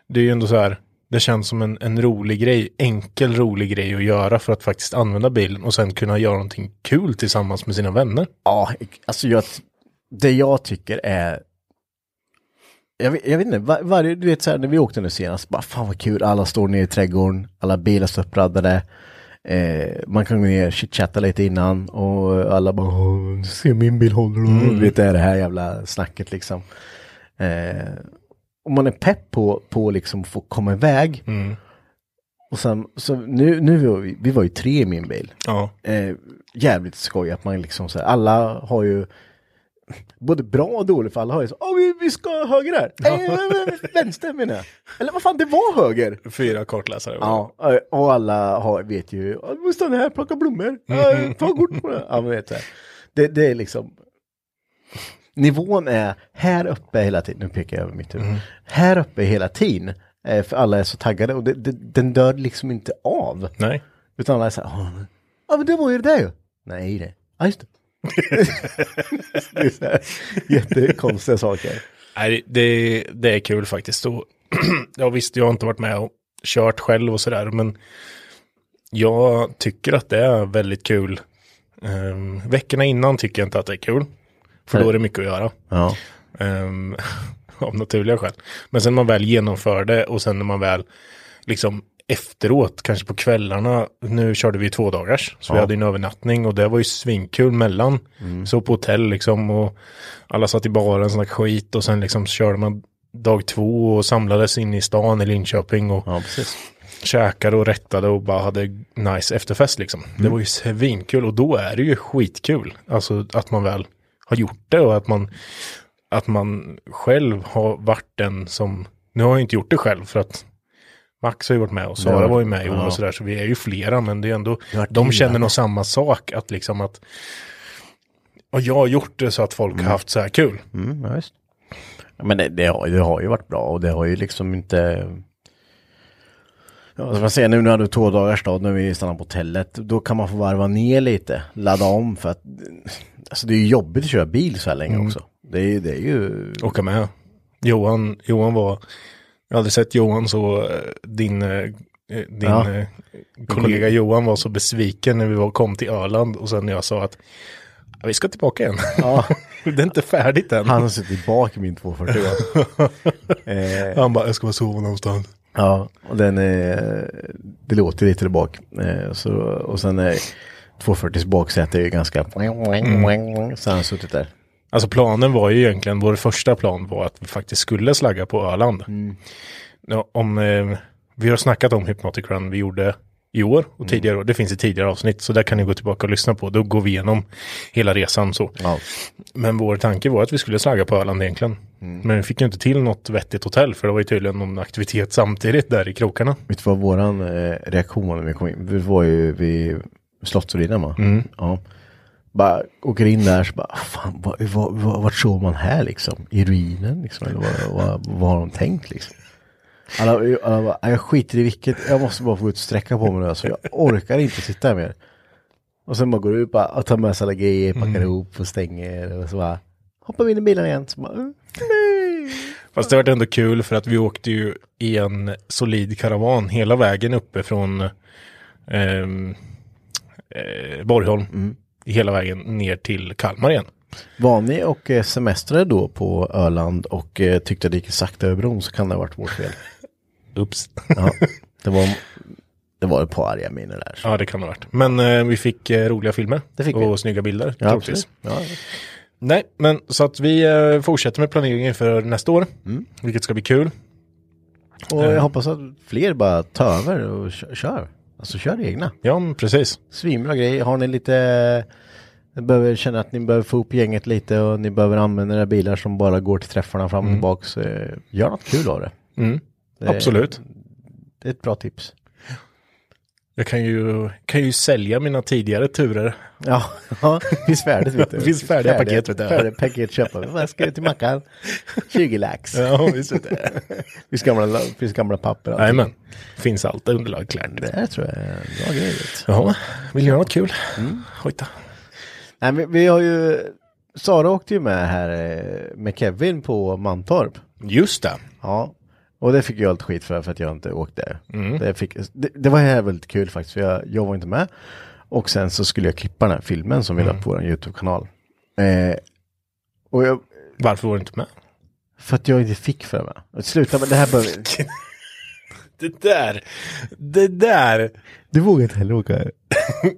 det är ju ändå så här, det känns som en, en rolig grej, enkel rolig grej att göra för att faktiskt använda bilen och sen kunna göra någonting kul tillsammans med sina vänner. Ja, alltså jag, det jag tycker är... Jag vet, jag vet inte, var, varje, du vet så här när vi åkte nu senast, bara fan vad kul, alla står nere i trädgården, alla bilar står uppraddade. Eh, man kan gå ner, chitchatta lite innan och alla bara, "Åh, se min bil håller då. Du vet det är det här jävla snacket liksom. Eh, och man är pepp på, på liksom få komma iväg. Och sen, så nu, nu var vi, vi var ju tre i min bil Ja. eh, jävligt skoj att man liksom så här, alla har ju både bra och dåligt för alla har ju så, åh vi, vi ska höger här, eh, vänster menar jag. Eller vad fan, det var höger. Fyra kartläsare. Ja, eh, och alla har, vet ju, "Ja, du måste stanna här, plocka blommor, Eh, ta kort på det. Ja, men vet så här. det, det är liksom, nivån är här uppe hela tiden, nu pekar jag över mitt huvud, här uppe hela tiden, eh, för alla är så taggade och det, det, den dör liksom inte av. Nej. Utan alla är så här, "Åh, men- ja men det var ju det där ju. Nej det, ja just det. det är så här, jättekonstiga saker. Nej, det, det är kul faktiskt. Och ja, visst, jag har inte varit med och kört själv och sådär, men jag tycker att det är väldigt kul. Ehm, veckorna innan tycker jag inte att det är kul, för då är det mycket att göra. Ja. Ehm, av naturliga skäl. Men sen när man väl genomför det och sen när man väl liksom efteråt, kanske på kvällarna, nu körde vi två dagars så vi hade en övernattning och det var ju svinkul mellan. Så på hotell liksom och alla satt i baren, snackade skit och sen liksom körde man dag två och samlades in i stan i Linköping och Ja precis. käkade och rättade och bara hade nice efterfest liksom. Det var ju svinkul och då är det ju skitkul. Alltså att man väl har gjort det och att man, att man själv har varit den som, nu har jag inte gjort det själv för att Max har ju varit med och Sara Ja. var ju med i år Ja. och sådär så vi är ju flera men det är ändå, har varit de dyra. känner nog samma sak att liksom att och jag har gjort det så att folk har haft så här kul. Mm, ja, visst. Ja, Men det, det, har, det har ju varit bra och det har ju liksom inte... Ja, som jag säger, nu när du två dagars då, när vi stannar på hotellet, då kan man få varva ner lite, ladda om för att... Alltså det är ju jobbigt att köra bil så här länge också. Det är, ju- det är ju... åka med. Johan, Johan var, jag har aldrig sett Johan så, eh, din, eh, eh, din Ja. eh, kollega Johan var så besviken när vi var, kom till Öland och sen när jag sa att "Ja, vi ska tillbaka igen. Ja. det är inte färdigt än. Han Han, har suttit bak i min 240. eh, bara, jag ska bara sova någonstans. Ja, och den är, det låter lite där bak. Eh, Så, och sen är 240s baksäte är ju ganska... Så har han suttit där. Alltså planen var ju egentligen, vår första plan var att vi faktiskt skulle slagga på Öland. Ja, om, eh, vi har snackat om Hypnotic Run vi gjorde i år och tidigare år. Det finns i tidigare avsnitt så där kan ni gå tillbaka och lyssna på. Då går vi igenom hela resan så. Ja. Men vår tanke var att vi skulle slagga på Öland egentligen. Men vi fick ju inte till något vettigt hotell för det var ju tydligen någon aktivitet samtidigt där i krokarna. Vet du vad våran eh, reaktion var när vi kom in? Vi var ju vid Slottsruinen va? Ja. Bara åker in där så bara, fan vad, vad, vad, vart såg man här liksom? I ruinen liksom? Eller vad, vad, vad har de tänkt liksom? Alla, alla bara, "Nej, jag skiter i vilket, jag måste bara få ut sträcka på mig nu alltså. Jag orkar inte sitta här mer. Och sen bara går du ut bara, och tar med sig alla grejer, packar ihop och stänger och så bara hoppar vi in i bilen igen. Så bara, "Mm, nej. Fast det var ändå kul för att vi åkte ju i en solid karavan hela vägen uppe från ehm, eh, Borgholm. Mm. Hela vägen ner till Kalmar igen. Var ni och eh, semestrade då på Öland och eh, tyckte det gick sakta över bron så kan det ha varit vårt fel. Ups. Ja, det, var, det var ett par arga miner där. Ja, det kan det ha varit. Men eh, vi fick eh, roliga filmer Det fick vi. och snygga bilder. Ja, troligtvis. absolut. Ja, Nej, men så att vi eh, fortsätter med planeringen för nästa år. Mm. Vilket ska bli kul. och jag hoppas att fler bara tar över och kö- kör. Alltså kör egna. Ja, men precis. Svinbra grej. Har ni lite... Ni behöver känna att ni behöver få upp gänget lite och ni behöver använda era bilar som bara går till träffarna fram och tillbaks. eh, Gör något kul av det. Det är- Absolut. Det är ett bra tips. Jag kan ju, kan ju sälja mina tidigare turer. Ja, ja finns färdigt. Vet du. Finns färdiga paket, vet du. Färdiga paket köpa. Vad ska du till mackan? 20 lax. Ja, visst är det. Finns gamla, finns gamla papper. och allting. Jajamän. Finns alltid underlag klart. Det här tror jag är en bra grej. vet du. Ja, vill göra något kul? Mm. Hojta. Nej, men vi har ju, Sara åkte ju med här eh, med Kevin på Mantorp. Just det. Ja, och det fick jag allt skit för, för att jag inte åkte där. Mm. Det, fick, det, det var här väldigt kul faktiskt, för jag, jag var inte med. Och sen så skulle jag klippa den här filmen som vi Mm. la på vår YouTube-kanal. Eh, och jag, Varför var du inte med? för att jag inte fick för mig. Och Sluta med det här behöver... Det där. Det där. Du vågar inte heller åka? här.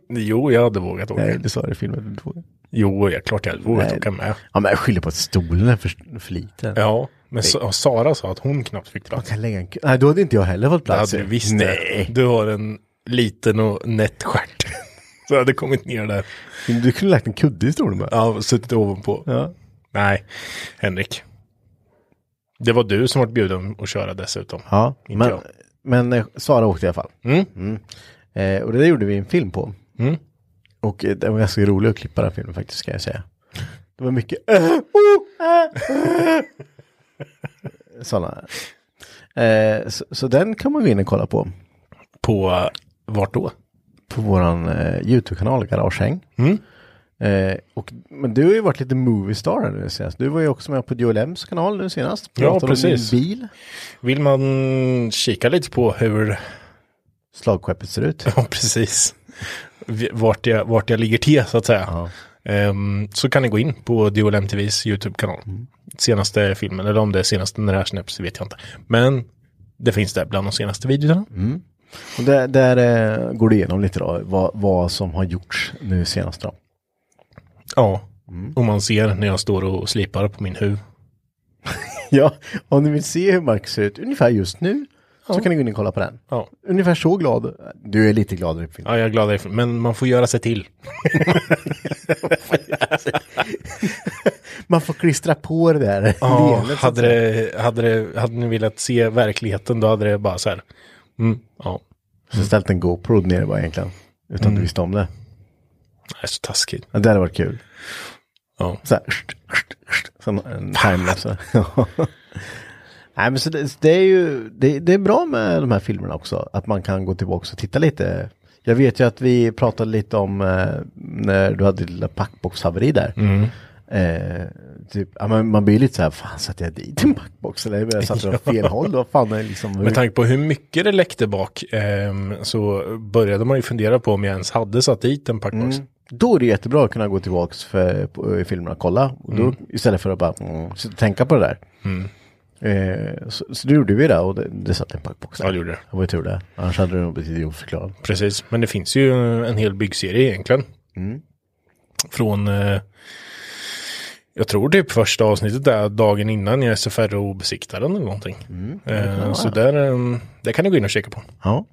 Jo, jag hade vågat åka. Nej, du sa det i filmen. Du inte vågar. Jo, jag, klart jag hade vågat Nej. åka med. Ja, men jag skyller på att stolen är för, för liten. Ja, men Sa- Sara sa att hon knappt fick Man plats. kan lägga en... ku- Nej, då hade inte jag heller fått Det plats. hade du visst det. Nej. Du har en liten och nätt stjärt. Så jag hade kommit ner där. Du kunde lagt en kudde i stolen bara. Ja, suttit ovanpå. Ja. Nej, Henrik. Det var du som var bjuden att köra dessutom. Ja, Inte men, jag. men eh, Sara åkte i alla fall. Mm. Eh, och det där gjorde vi en film på. Mm. Och eh, det var ganska roligt att klippa den här filmen faktiskt, ska jag säga. Det var mycket sådana. Eh, så, så den kan man gå in och kolla på. På eh, vart då? På våran eh, YouTube-kanal, Garagehäng. Eh, och, men du har ju varit lite moviestar här nu senast. Du var ju också med på Joel M's kanal nu senast. Ja, Pratade precis. Om din bil, Vill man kika lite på hur, slagskeppet ser ut. ja precis, V- vart jag, vart jag ligger till så att säga. Ehm, så kan ni gå in på Dual MTVs YouTube-kanal. Senaste filmen, eller om det är senaste när det här släpps, det vet jag inte. Men det finns där bland de senaste videorna. Och där där eh, går du igenom lite då, vad, vad som har gjorts nu senast då. Ja, och man ser när jag står och slipar på min huv. Ja, om ni vill se hur Marcus ser ut ungefär just nu så kan ni gå in och kolla på den. Ja. Ungefär så glad. Du är lite gladare på filmen. Ja, jag är glad därför. Men man får göra sig till. Man får klistra på det där Ja, leendet, så att hade, säga. det, hade, det, hade ni velat se verkligheten då hade det bara så här. Mm, ja, Så ställt en GoPro ner bara egentligen. Utan du visste om det. det är så taskigt. Ja, det hade varit kul. Ja. Så här, sht, sht, sht, som en alltså. timelapse. Ja. Nej men så det, det är ju, det, det är bra med de här filmerna också, att man kan gå tillbaka och titta lite. Jag vet ju att vi pratade lite om eh, när du hade ditt lilla packboxhaveri där. Eh, typ, ja, men man blir lite så här, fan satte jag dit en packbox eller jag satte den åt fel håll? Vad fan är liksom, hur, Med tanke på hur mycket det läckte bak ehm, så började man ju fundera på om jag ens hade satt dit en packbox. då är det jättebra att kunna gå tillbaka för, på, i filmerna och kolla. Och då, Istället för att bara mm, sitta och tänka på det där. Eh, så, så det gjorde vi det och det, det satt en packbox där. Ja, det gjorde det. Det var ju tur det. Annars hade det nog blivit idiotförklarad. Precis, men det finns ju en hel byggserie egentligen. Mm. Från, eh, jag tror typ första avsnittet där dagen innan jag SFRO-besiktar den eller någonting. Eh, så där, eh, det kan du gå in och kika på. Ja.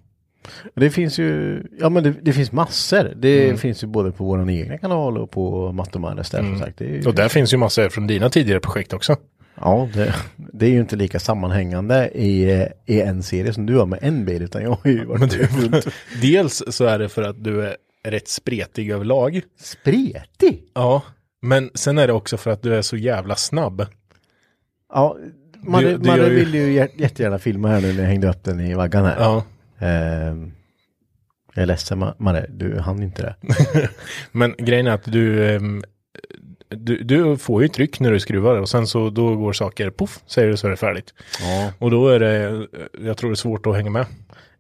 Och Det finns ju, ja men det, det finns massor. Det finns ju både på vår egna kanal och på Mattomares där som sagt. Mm. Det är ju, Och där finns ju massor från dina tidigare projekt också. Ja, det, det är ju inte lika sammanhängande i, eh, i en serie som du har med en bil utan jag har ju varit runt. Dels så är det för att du är rätt spretig överlag. Spretig! Ja, men sen är det också för att du är så jävla snabb. Ja, man, Det- det man gör ju- vill ju jä- jättegärna filma här nu när jag hängde upp den i vaggan här. Ja, Ehm, jag är ledsen, Ma- Marre, du hann inte det. men grejen är att du, ehm, du, du får ju tryck när du skruvar och sen så då går saker poff, säger du så är det färdigt. Ja. Och då är det, eh, jag tror det är svårt att hänga med.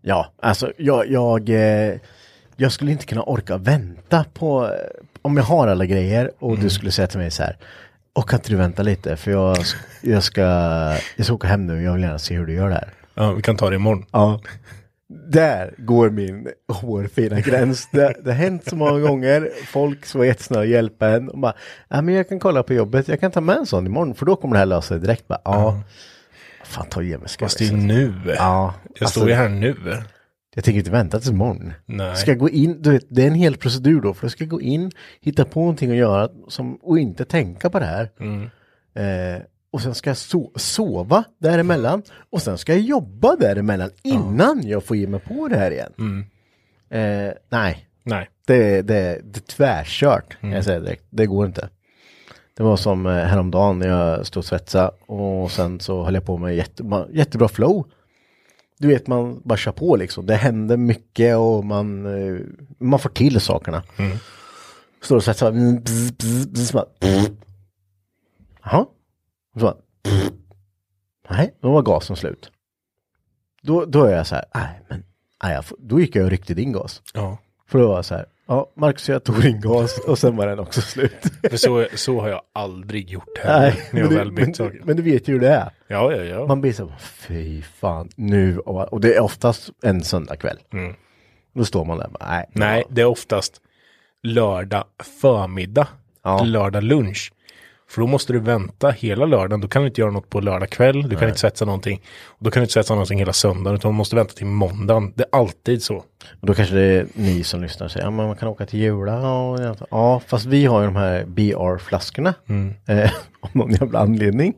Ja, alltså jag, jag, eh, jag skulle inte kunna orka vänta på eh, om jag har alla grejer och Mm. du skulle säga till mig så här. Och kan inte du vänta lite för jag, jag, ska, jag ska åka hem nu och jag vill gärna se hur du gör det här. Ja, vi kan ta det imorgon. Ja. Där går min hårfina gräns. Det, det har hänt så många gånger. Folk som var jättesnälla att hjälpa en. Och bara, ja men jag kan kolla på jobbet. Jag kan ta med en sån imorgon. För då kommer det här lösa sig direkt. Bara, ja. Fan ta ge mig alltså. ska Fast det är nu. Alltså, Ja. Jag står ju här nu. Jag tänker inte vänta tills imorgon. Nej. Ska jag gå in, du vet, det är en hel procedur då. För jag ska gå in, hitta på någonting att göra som, och inte tänka på det här. Eh, och sen ska jag so sova däremellan och sen ska jag jobba däremellan innan jag får ge mig på det här igen. Eh, nej, Nej. det, det, det är tvärkört, kan jag säger direkt. Det går inte. Det var som eh, häromdagen när jag stod och svetsa och sen så höll jag på med jätte, ma- jättebra flow. Du vet, man bara kör på liksom. Det händer mycket och man, eh, man får till sakerna. Står och svetsar, mm, bzz, bzz, bzz, så bara, pff. Jaha. Och så bara, pff. nej, då var gasen slut. Då, då är jag så här, nej men, nej, jag får, då gick jag och ryckte din gas. Ja. För det var så här, ja, Marcus och jag tog din gas och sen var den också slut. För så, så har jag aldrig gjort heller. Nej, när jag men, väl du, men, bytt du, saker. men du vet ju hur det är. Ja, ja, ja. Man blir så, här, fy fan, nu, och, och det är oftast en söndagkväll. Då står man där, och bara, nej. Mm. Nej, det är oftast lördag förmiddag, Ja. lördag lunch. För då måste du vänta hela lördagen. Då kan du inte göra något på lördag kväll. Du kan inte svetsa någonting. Och då kan du inte svetsa någonting hela söndagen. Utan man måste vänta till måndagen. Det är alltid så. Och då kanske det är ni som lyssnar och säger, ja men man kan åka till Jula och jag- ja, fast vi har ju de här BR-flaskorna. Mm. Eh, av någon jävla anledning.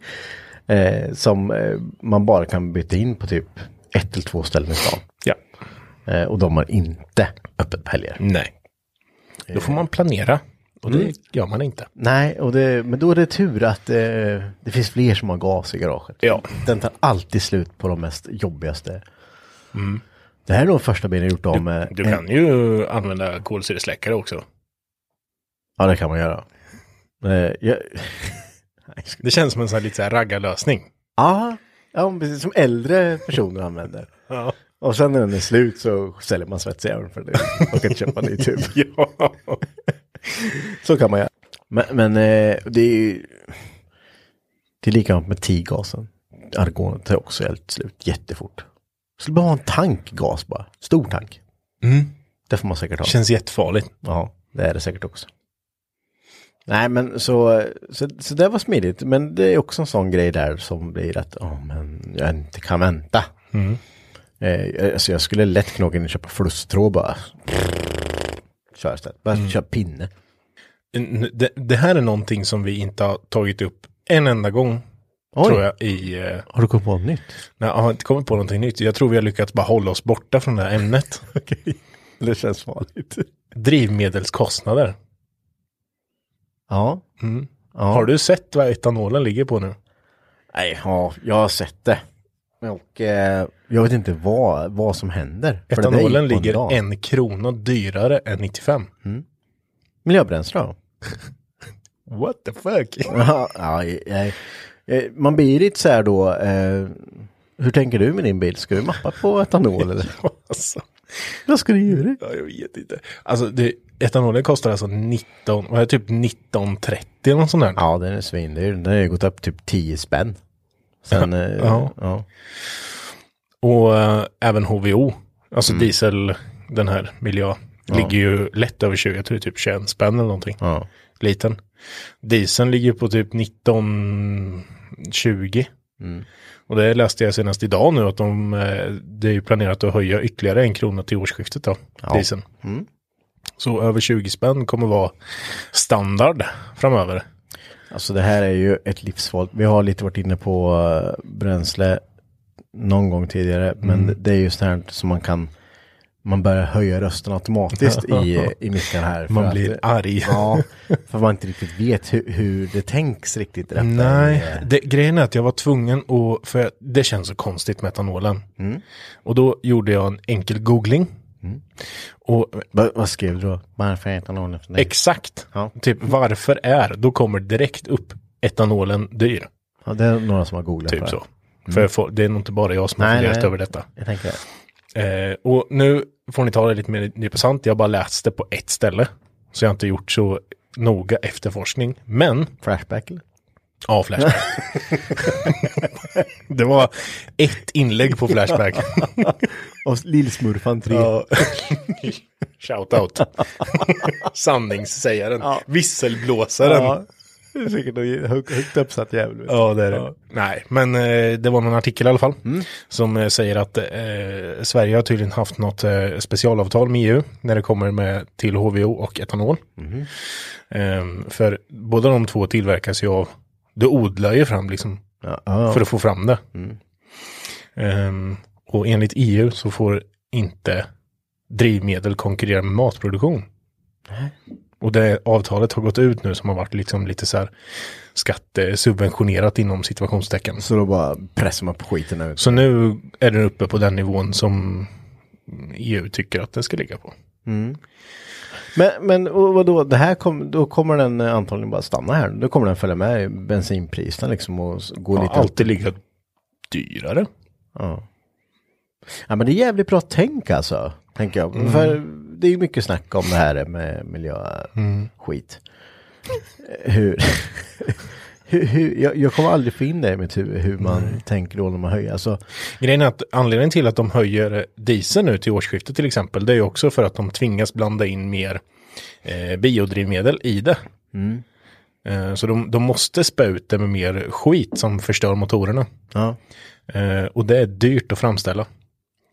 Eh, som eh, man bara kan byta in på typ ett eller två ställen i stan. Ja. Eh, och de har inte öppet på helger. Nej. Då får man planera. Och det gör man inte. Nej, och det, men då är det tur att eh, det finns fler som har gas i garaget. Ja. Den tar alltid slut på de mest jobbigaste. Det här är nog första bilen jag gjort av med. Mm. Du en- kan ju använda kolsyresläckare också. Ja, det kan man göra. Eh, jag, Det känns som en sån här lite så här raggarlösning. ja, ja, men precis som äldre personer använder. Ja. Och sen när den är slut så säljer man svettsägaren för det. Och kan köpa en ny tub. ja. Så kan man göra. Men, men eh, det är ju... Det är likadant med tigasen. Argonet tar också helt slut jättefort. Skulle bara ha en tankgas bara. Stor tank. Det får man säkert ha. Mm. Känns jättefarligt. Ja, det är det säkert också. Nej, men så, så, så det var smidigt. Men det är också en sån grej där som blir att, ja men jag inte kan vänta. Eh, alltså jag skulle lätt kunna åka in och köpa flusstråd bara. Kör istället. Bara köra pinne. N- Det, det här är någonting som vi inte har tagit upp en enda gång. Oj. Tror jag i... Eh, Har du kommit på något nytt? nej, jag har inte kommit på någonting nytt. Jag tror vi har lyckats bara hålla oss borta från det här ämnet. Det känns farligt. Drivmedelskostnader. Ja. ja. Har du sett vad etanolen ligger på nu? Nej, ja, jag har sett det. Och eh, jag vet inte vad, vad som händer. För det där gick Etanolen på ligger dag. en krona dyrare än 95. Miljöbränsle då? What the fuck? ja, nej, nej. Eh, Man blir lite så här då. Eh, hur tänker du med din bil? Ska du mappa på etanol eller? alltså, Vad ska du göra? ja, jag vet inte. Alltså, det, etanolen kostar alltså 19, vad är det, typ 19,30 eller något sånt där. Ja, den är svindyr. Den har ju gått upp typ 10 spänn. Sen, eh, Ja. ja. ja. Och eh, även HVO, alltså Mm. diesel, den här miljö, ligger ju lätt över 20, jag tror det är typ 21 spänn eller någonting. Liten. Dieseln ligger på typ 19, 20. Mm. Och det läste jag senast idag nu att de, eh, det är ju planerat att höja ytterligare en krona till årsskiftet då, dieseln. Mm. Så över 20 spänn kommer vara standard framöver. Alltså det här är ju ett livsfarligt. Vi har lite varit inne på eh, bränsle någon gång tidigare. Mm. Men det är ju sånt här som man kan. Man börjar höja rösten automatiskt i, eh, i micken här. för Man att- blir arg. Ja, för man inte riktigt vet hur, hur det tänks riktigt. i detta. Nej, det, grejen är att jag var tvungen att, för jag- det känns så konstigt med etanolen. Mm. Och då gjorde jag en enkel googling. Och Va, vad skrev du då? Varför heter någon efter dig? exakt, Ja. typ varför är, då kommer direkt upp etanolen dyr. Ja, det är några som har googlat på Typ det. så. För jag får, det är nog inte bara jag som har Mm. Nej, funderat nej. över detta. Jag tänker det. Eh, och nu får ni ta det lite mer nypa sant. Jag har bara läst det på ett ställe. Så jag har inte gjort så noga efterforskning. Men Flashback eller? Ja, Flashback. det var ett inlägg på Flashback. Och Lillsmurfan 3. Ja. Shout out. Sanningssägaren. Visselblåsaren. Ja. Det är säkert en hög- högt uppsatt jävel. Ja. Mm. det är det. Nej, men eh, det var någon artikel i alla fall. Som eh, säger att eh, Sverige har tydligen haft något eh, specialavtal med EU. När det kommer med till Mhm. HVO och etanol. Ehm, för båda de två tillverkas ju av Du odlar ju fram liksom Ja, ja. Mm. för att få fram det. Ehm, och enligt EU så får inte drivmedel konkurrera med matproduktion. Och det avtalet har gått ut nu som har varit liksom lite så här skattesubventionerat inom situationstecken. Så då bara pressar man på skiten nu. Så nu är den uppe på den nivån som EU tycker att den ska ligga på. Men, men och vadå, det här kom, då kommer den eh, antagligen bara stanna här. Då kommer den följa med i bensinpriserna liksom och s- gå Och lite alltid ligga dyrare. Ja. ja, men det är jävligt bra tänk alltså, tänker jag. För det är ju mycket snack om det här med Mm. miljöskit. Hur, hur, hur jag, jag kommer aldrig få in det i mitt huvud, hur man tänker då när man höjer. Alltså, Grejen är att anledningen till att de höjer eh, diesel nu till årsskiftet till exempel, det är ju också för att de tvingas blanda in mer eh, biodrivmedel i det. Mm. Eh, så de, de måste spä ut det med mer skit som förstör motorerna. ja. Eh, och det är dyrt att framställa.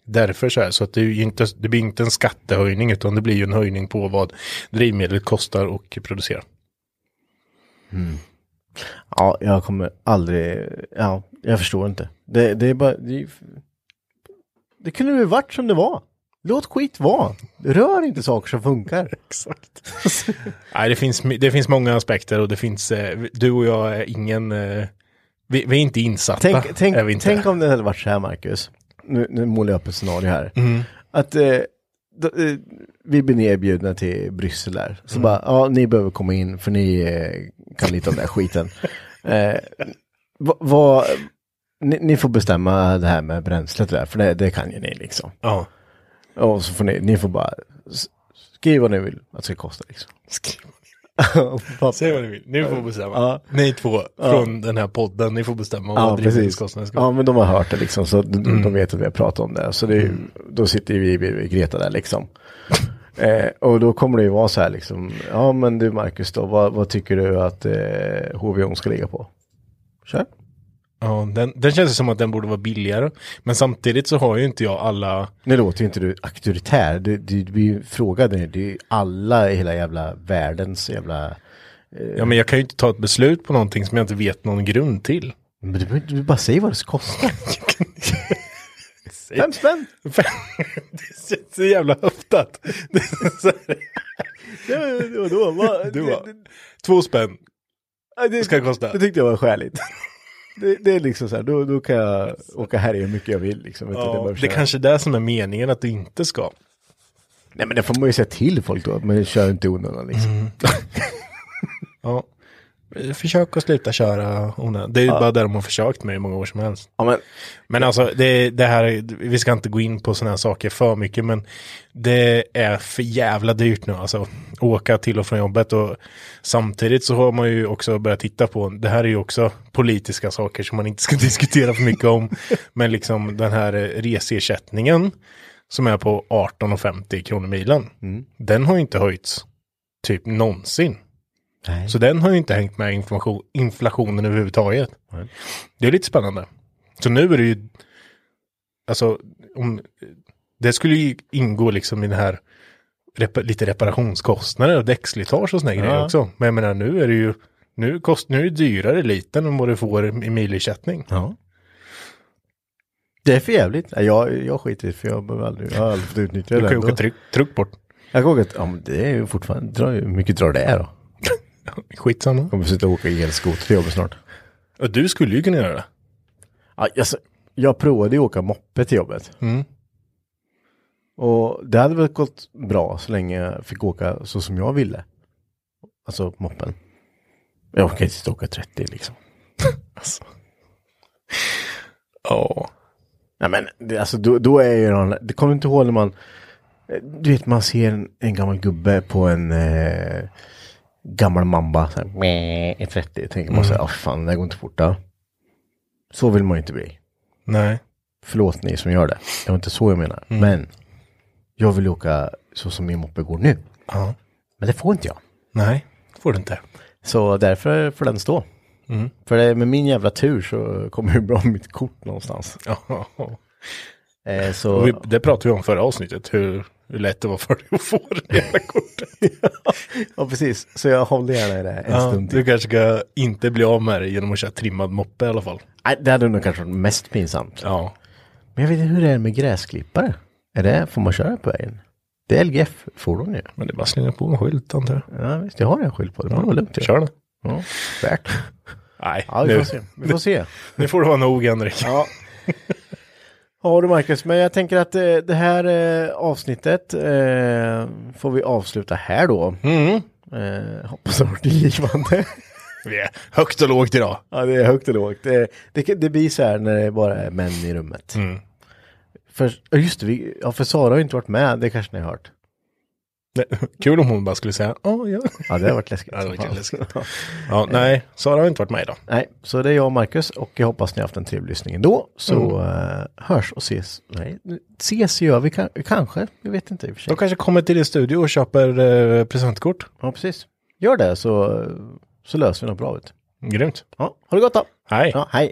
Därför så här, så att det, är ju inte, det blir inte en skattehöjning utan det blir ju en höjning på vad drivmedlet kostar och producera. ja, jag kommer aldrig, ja, jag förstår inte. Det, det är bara, det, är ju- det kunde ju varit som det var. Låt skit vara. Rör inte saker som funkar. Exakt. Nej, det finns, det finns många aspekter och det finns, eh, du och jag är ingen, eh, vi, vi är inte insatta. Tänk, är vi tänk, inte. tänk om det hade varit så här, Marcus. Nu, nu målar jag upp ett scenario här. Mm. Att eh, då, eh, vi blir erbjudna till Bryssel där. Mm. Så bara, ja, ni behöver komma in för ni eh, kan lite om den här skiten. Eh, va, va, ni, ni får bestämma det här med bränslet där, för det, det kan ju ni liksom. Ja. Och så får ni, ni får bara s- skriva vad ni vill att det ska kosta liksom. Säg vad ni vill, ni får bestämma. Ja. Ni två från den här podden, ni får bestämma vad drivmedelskostnaden ska vara. Ja, men de har hört det liksom, så de, de vet att vi har pratat om det. Så det är, ju- då sitter vi bredvid Greta där liksom. Eh, och då kommer det ju vara så här liksom, ja men du Marcus då, vad, vad tycker du att eh, HVO ska ligga på? Kör. Ja, den, den känns som att den borde vara billigare. Men samtidigt så har ju inte jag alla, Nu låter ju inte du auktoritär, du, du, du blir ju frågad nu, det är ju alla i hela jävla världens jävla... ja men jag kan ju inte ta ett beslut på någonting som jag inte vet någon grund till. Men du, behöver inte- du bara säger vad det ska kosta. Fem spänn! Fan, det känns så jävla höftat. Det är så här, Ja, men vadå? Vad- Du bara, två spänn Ja, det, ska det kosta. Det tyckte jag var skäligt. Det, det är liksom så här, då, då kan jag åka här hur mycket jag vill. Liksom, utan bara Ja, att det köra. kanske är det som är meningen att du inte ska. Nej men det får man ju säga till folk då, men kör inte i onödan liksom. Mm. Ja. Försök att sluta köra onödigt. Det är ju bara det de har försökt med i många år som helst. Ja, men, Men alltså, det, det här, vi ska inte gå in på sådana här saker för mycket, men det är för jävla dyrt nu alltså. Åka till och från jobbet och samtidigt så har man ju också börjat titta på, det här är ju också politiska saker som man inte ska diskutera för mycket om, men liksom den här eh, reseersättningen som är på 18,50 kronor milen, den har ju inte höjts typ någonsin. Nej. Så den har ju inte hängt med information, inflationen överhuvudtaget. Det är lite spännande. Så nu är det ju, alltså, om, det skulle ju ingå liksom i den här repa, lite reparationskostnader och däckslitage och såna här grejer också. Men jag menar nu är det ju, nu, kost, nu är det dyrare liten än vad du får i milersättning. ja. Det är för jävligt. Nej, Jag, jag skiter i det, för jag behöver aldrig, jag har aldrig fått utnyttja Du det. kan ju ändå. åka tryck, tryck bort. Jag kan åka, ja, men det är ju fortfarande, drar ju- hur mycket drar det då? Skitsamma. Kommer sitta och åka elskoter till jobbet snart. Och du skulle ju kunna göra det. Ja, alltså, jag provade ju åka moppe till jobbet. Och det hade väl gått bra så länge jag fick åka så som jag ville. Alltså moppen. Jag orkar inte sitta och åka 30 liksom. Alltså. Ja. Nej men det, alltså då, då är ju någon, det kommer inte ihåg när man, du vet man ser en, en gammal gubbe på en eh, gammal mamba, så här, meh, är 30, tänker man så här, "Ah, fan det här går inte fort. Då. Så vill man ju inte bli. Nej. Förlåt ni som gör det. Det var inte så jag menar. Men jag vill åka så som min moppe går nu. Ja. Men det får inte jag. Nej. Det får du inte. Så därför får den stå. För det, med min jävla tur så kommer det bra mitt kort någonstans. Ja. Eh, Och så vi, det pratade vi om förra avsnittet, hur, hur lätt det var för dig att få det jävla kortet. Ja, precis. Så jag håller gärna i det här en Ja, stund till. du kanske ska inte bli av med det genom att köra trimmad moppe i alla fall. Nej, det hade nog kanske varit mest pinsamt. Ja. Men jag vet inte hur det är med gräsklippare. Är det, får man köra på vägen? Det är LGF-fordon ju. Men det är bara att slänga på en skylt antar jag. Ja, visst, jag har en skylt på det. Det var lugnt. ju. Kör den. Ja, värt. Nej, Ja, vi nu. får se. Vi får se. nu får det vara nog Henrik. Ja. Ja du Marcus, men jag tänker att eh, det här eh, avsnittet eh, får vi avsluta här då. Eh, hoppas det har varit givande. Mm. Vi är högt och lågt idag. ja det är högt och lågt. Det, det, det blir så här när det bara är män i rummet. Mm. För, ja, just det, vi, ja, för Sara har ju inte varit med, det kanske ni har hört. Nej, Kul om hon bara skulle säga "Ja, ja. Ja det har varit läskigt. Ja, det var som fan. kul, läskigt. ja, nej, Sara har inte varit med idag. Nej, så det är jag och Marcus och jag hoppas ni har haft en trevlig lyssning ändå. Så eh, hörs och ses. Nej, ses gör vi ka- kanske, vi vet inte i och för sig. De kanske kommer till din studio och köper eh, presentkort. Ja, precis. Gör det så, så löser vi något bra ut. Grymt. Ja, ha det gott då. Hej. Ja, hej.